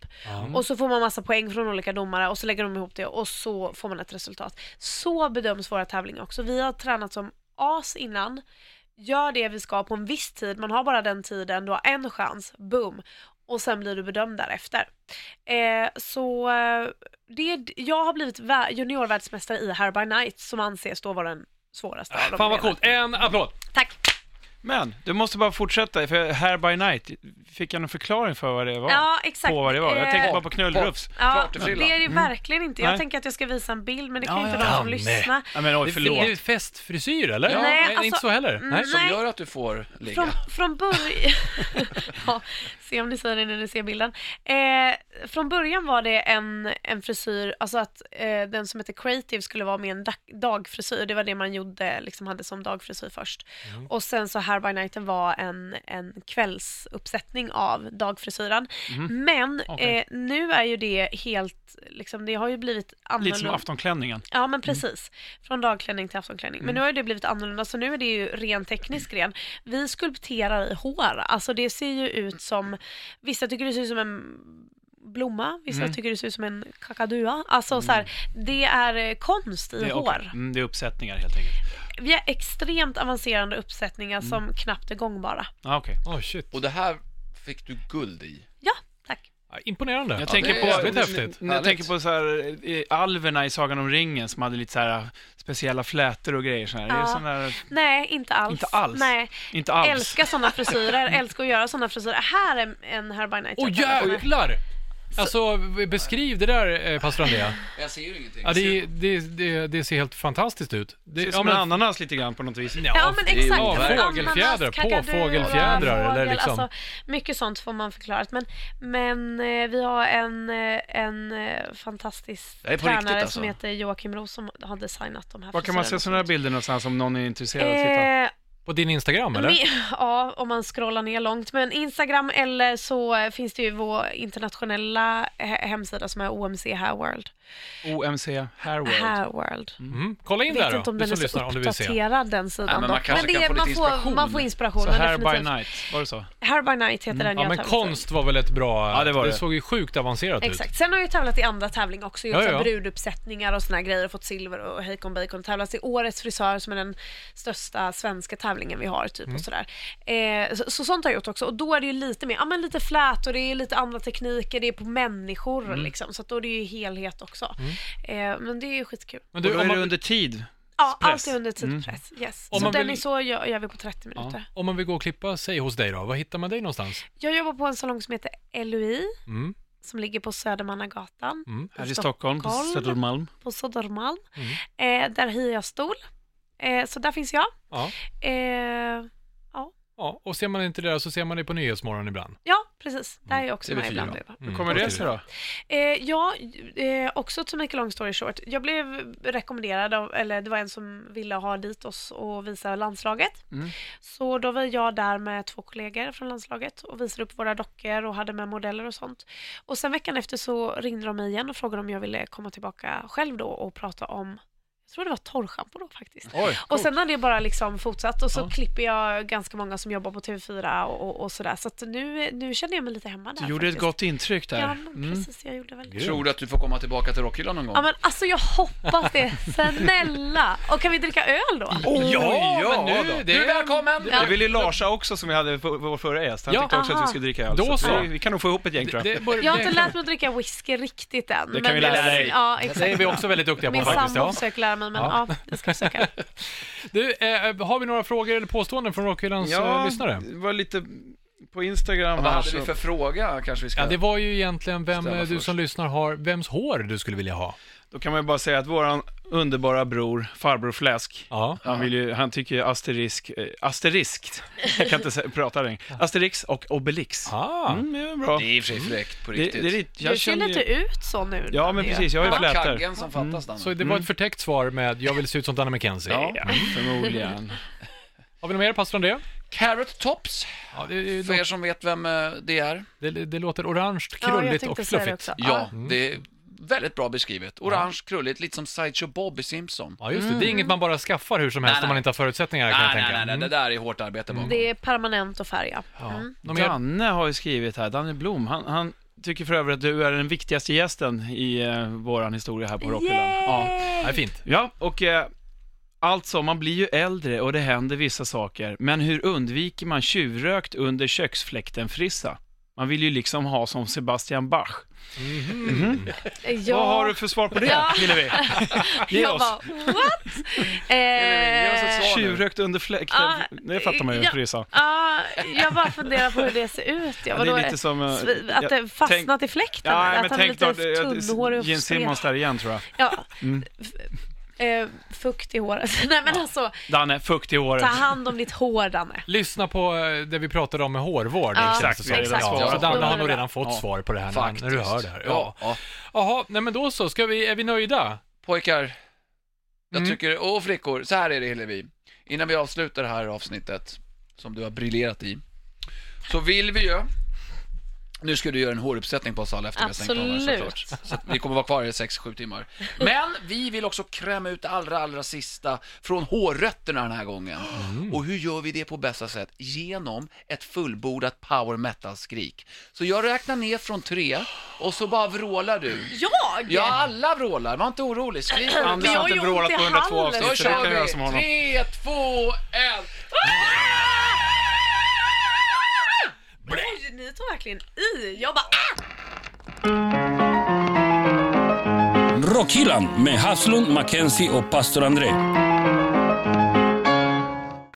Och så får man massa poäng från olika domare och så lägger de ihop det och så får man ett resultat. Så bedöms våra tävlingar också. Vi har tränat som as innan, gör det vi ska på en viss tid, man har bara den tiden, du har en chans, boom. Och sen blir du bedömd därefter. Eh, så eh, det, är- jag har blivit vä- juniorvärldsmästare i Hair by Night som anses då vara den svåraste av dem
Fan vad
redan.
coolt. En applåd.
Tack!
Men, du måste bara fortsätta, för Hair by Night, fick jag någon förklaring för vad det var?
Ja, exakt.
På vad det var? Jag
Eh,
tänkte bara på knullrufs.
Ja,
Klart det
det är
frilla.
det verkligen inte. Jag
Mm. Nej.
tänker att jag ska visa en bild men det kan
Ja,
ju inte
ja,
de
ja,
som
nej.
lyssnar.
Nej men oj,
Det är ju
förlåt.
festfrisyr eller?
Ja.
Nej,
Nej,
inte
alltså-
så heller. Nej.
Mm.
Som
Nej.
gör att du får ligga.
Från, från början... ja, se om ni säger det när ni ser bilden. Eh, från början var det en, en frisyr, alltså att eh, den som heter creative skulle vara med en dag, dagfrisyr. Det var det man gjorde, liksom hade som dagfrisyr först.
Mm.
Och sen så Hair by Nighten var en, en kvällsuppsättning av dagfrisyren. Men
Mm. Okej.
eh, nu är ju det helt, liksom, det har ju blivit annorlunda.
Lite som aftonklänningen.
Ja men precis. Från dagklänning till aftonklänning.
Mm.
Men nu har ju det blivit annorlunda så nu är det ju ren teknisk gren. Vi skulpterar i hår. Alltså det ser ju ut som, vissa tycker det ser ut som en blomma, vissa
Mm.
tycker det ser ut som en kakadua. Alltså så här, det är eh, konst i
Det är,
hår.
okej. mm, det är uppsättningar helt enkelt.
Vi har extremt avancerade uppsättningar
Mm.
som knappt är gångbara.
Ah, okej.
Oh, shit.
Och det här fick du guld i.
Ja, tack.
Ja, Imponerande.
Jag
Ja,
tänker
det är
på,
jävligt
n-
häftigt.
n- Jag
Härligt.
tänker på så här, eh, alverna i Sagan om ringen som hade lite så här äh, speciella flätor och grejer så här. Är
Ja.
det sån där,
Nej, inte alls.
Inte alls?
Nej.
inte alls.
Älskar sådana frisyrer, älskar att göra sådana frisyrer. Här är en Hair by Night.
Åh
jag kan rekommendera.
jävlar! Alltså b- beskriv det där eh, pastor Andrea.
Jag ser ju ingenting.
Ja, det, det, det, det ser helt fantastiskt ut. Det,
Det ser ut
ja,
som
men,
en ananas lite grann på något vis.
Ja, men
det är
exakt.
ju
Ananas,
fågelfjädrar, på
kakadua,
fågelfjädrar eller
fågel,
liksom.
Alltså, mycket sånt får man förklarat. Men, men eh, vi har en, eh, en eh, fantastisk
Det är på
tränare
riktigt, alltså.
som heter Joakim Roos som har designat de här
Var kan man se
frisyrerna.
sådana här bilder någonstans om någon är intresserad? att titta?
Eh,
På din Instagram eller?
mi- ja, om man scrollar ner långt. Men Instagram eller så eh, finns det ju vår internationella eh, he- hemsida som är OMC Hair World.
OMC Hair World.
Eh, Hair World.
Mm. Kolla in
Jag vet
där
inte
då,
om
du
den
som
är så
lyssnar om du vill se.
uppdaterad den sidan.
Nej, men
dock.
man kanske kan få lite
man, får,
inspiration.
man får inspiration.
Så Hair by
definitivt.
Night, var det så?
Hair by Night heter den jag
Mm. Ja, men
har tävlat i.
konst var väl ett bra...
Ja, det var det.
såg ju sjukt avancerat ut.
Exakt. Sen har jag ju tävlat i andra tävlingar också. Gjort
Ja,
ja,
ja.
bruduppsättningar och såna här grejer och fått silver och hejkon bacon. Tävlat i Årets frisör som är den största svenska tävlingen vi har. Typ,
Mm.
och sådär. Eh, så, så sånt har jag gjort också. Och då är det ju lite mer, ja men lite flät och det är lite andra tekniker, det är på människor
Mm.
liksom. Så att då är det ju helhet också. Eh, men det är ju skitkul.
Men
Du,
du,
då är
om
det
man,
under tid.
Ja,
Press.
allt är under tidspress. Yes.
Mm. Om
Så
man vill-
Dennis, så gör, gör vi på 30 minuter.
om man vill gå och klippa sig hos dig då, var hittar man dig någonstans?
Jag jobbar på en salong som heter LOI
Mm.
som ligger på Södermannagatan
Här i Stockholm, på
Stockholm.
Södermalm.
Mm,
på Södermalm. Eh, där hyr jag stol. Eh, så där finns jag.
Ja.
Eh,
ja. Och ser man inte det där så ser man det på Nyhetsmorgon ibland.
ja, precis. Där är jag också
TV4.
med ibland.
Mm.
Hur kommer
på
det
TV4.
sig då?
Eh, ja, eh, också to make a long story short. Jag blev rekommenderad av, eller det var en som ville ha dit oss och visa landslaget. Så då var jag där med två kollegor från landslaget och visade upp våra dockor och hade med modeller och sånt. Och sen veckan efter så ringde de mig igen och frågade om jag ville komma tillbaka själv då och prata om jag tror det var torrschampo då faktiskt.
Oj,
och sen har det bara liksom fortsatt och så klipper jag ganska många som jobbar på TV4 och, och, och sådär. Så att nu, nu känner jag mig lite hemma där
Du gjorde ett
faktiskt.
gott intryck där.
Ja, men
Mm.
precis. Jag gjorde väl det.
Tror du att du får komma tillbaka till rockhyllan någon gång?
Ja men alltså jag hoppas det, snälla! Och kan vi dricka öl då?
Ja,
ja,
men nu,
då.
det
Du är välkommen!
Ja.
Det ville ju Larsa också som vi hade för, vår förra gäst. Han
Ja.
tyckte också att
Aha.
vi skulle dricka öl.
Då
att
så.
Vi, vi kan nog få ihop ett gäng tror jag.
Det, bör-
Jag har
det-
inte lärt mig att dricka whisky riktigt än.
Det kan
men
vi lära dig.
Ja,
Det är
exakt.
vi också väldigt duktiga på
Min
faktiskt.
sambo
Ja.
försöker lära mig men ja, jag ska försöka.
Du, eh, har vi några frågor eller påståenden från Rockhyllans
Alltså,
eh, lyssnare?
det var lite på Instagram Alltså,
Vad
här.
hade
Så.
vi för fråga kanske vi ska...
alltså- Ja, det var ju egentligen vem
Ställa
eh, du
först.
som lyssnar har, vems hår du skulle vilja ha.
Då kan man ju bara säga att våran underbara bror, farbror Fläsk,
Ja.
han, vill ju, han tycker ju asterisk, eh, asterisk, jag kan inte sä- prata längre, Asterix och Obelix.
Ah.
Mm, det är bra.
Det är i och för sig fräckt på
Det,
riktigt.
det är lite,
Du
jag
ser
känner
lite
ju,
ut så nu.
Ja, men
Daniel.
precis, jag har ju
Ja.
flätor.
Kaggen som
Mm.
fattas, Danne.
Mm.
Så det var ett förtäckt svar med jag vill se ut som Danne McKenzie.
Ja, förmodligen.
Mm. Har vi något mer Pastor André?
Carrot Tops,
Ja, det, det,
för er som vet vem eh, det är.
det, det, det låter orange,
Ja, jag
krulligt
tänkte
och
säga det
fluffigt.
också.
Ja, mm. det är väldigt bra beskrivet. Orange, krulligt, lite som Sideshow Bob i Simpson.
Ja, just det. Det är inget man bara skaffar hur som helst
Mm. Nej,
om man
nej.
inte har förutsättningar kan jag
Nej,
tänka.
nej, nej, nej, det där är hårt arbete bakom.
Det är permanent och färga.
Mm. Ja. Något mer?
Danne har ju skrivit här, Danne Blom, han, han tycker för övrigt att du är den viktigaste gästen i eh, våran historia här på Rockhyllan. Ja.
Ja, det är fint.
ja, och eh, alltså, man blir ju äldre och det händer vissa saker, men hur undviker man tjuvrökt under köksfläkten-frissa? Man vill ju liksom ha som Sebastian Bach.
Ja.
Vad har du för svar på det,
Ja.
Hillevi? Ge
Jag
oss.
bara, what?
Ge oss ett
Eh,
svar nu.
Tjuvrökt under fläkten,
Ah,
det fattar man ju,
ja.
frissa.
ja, jag bara funderar på hur det ser ut. Jag,
Ja, det
vadå,
är lite som... eh,
svi- att det fastnat i fläkten?
Ja,
eller
men
att han är
tänk
lite
då, det- det-
tunnhårig och
Gene Simmons där Mm. igen tror jag.
Ja. F- eh, fukt i håret. Nej men alltså,
Danne, fukt i håret.
ta hand om ditt hår Danne.
Lyssna på eh, det vi pratade om med hårvård.
Ja,
Exakt, vi har redan
Ja,
svarat
så
på
Danne
det.
har nog redan fått
Ja,
svar på det här när, när du hör det här.
Ja. ja.
Jaha, nej men då så. Ska vi, är vi nöjda?
Pojkar, jag
Mm.
tycker, och flickor, så här är det Hillevi. Innan vi avslutar det här avsnittet, som du har briljerat i, så vill vi ju... Nu ska du göra en håruppsättning på oss alla efter vi har stängt av här,
Absolut.
såklart. Så att vi kommer vara kvar i 6-7 timmar. Men vi vill också kräma ut det allra, allra sista från hårrötterna den här gången. Och hur gör vi det på bästa sätt? Genom ett fullbordat power metal-skrik. Så jag räknar ner från tre och så bara vrålar du.
Jag?
Ja, alla vrålar. Var inte orolig. Skriv på
Anders
Vi
har
har
inte
ju
vrålat
ont
på
i
102
handen.
Då
avsnitt, så det
kör
kan jag göra som
vi!
honom.
Tre, två, en!
Oj, ni tog verkligen i. Jag bara, ah!
Rockhyllan med Haslund, Mackenzie och pastor André.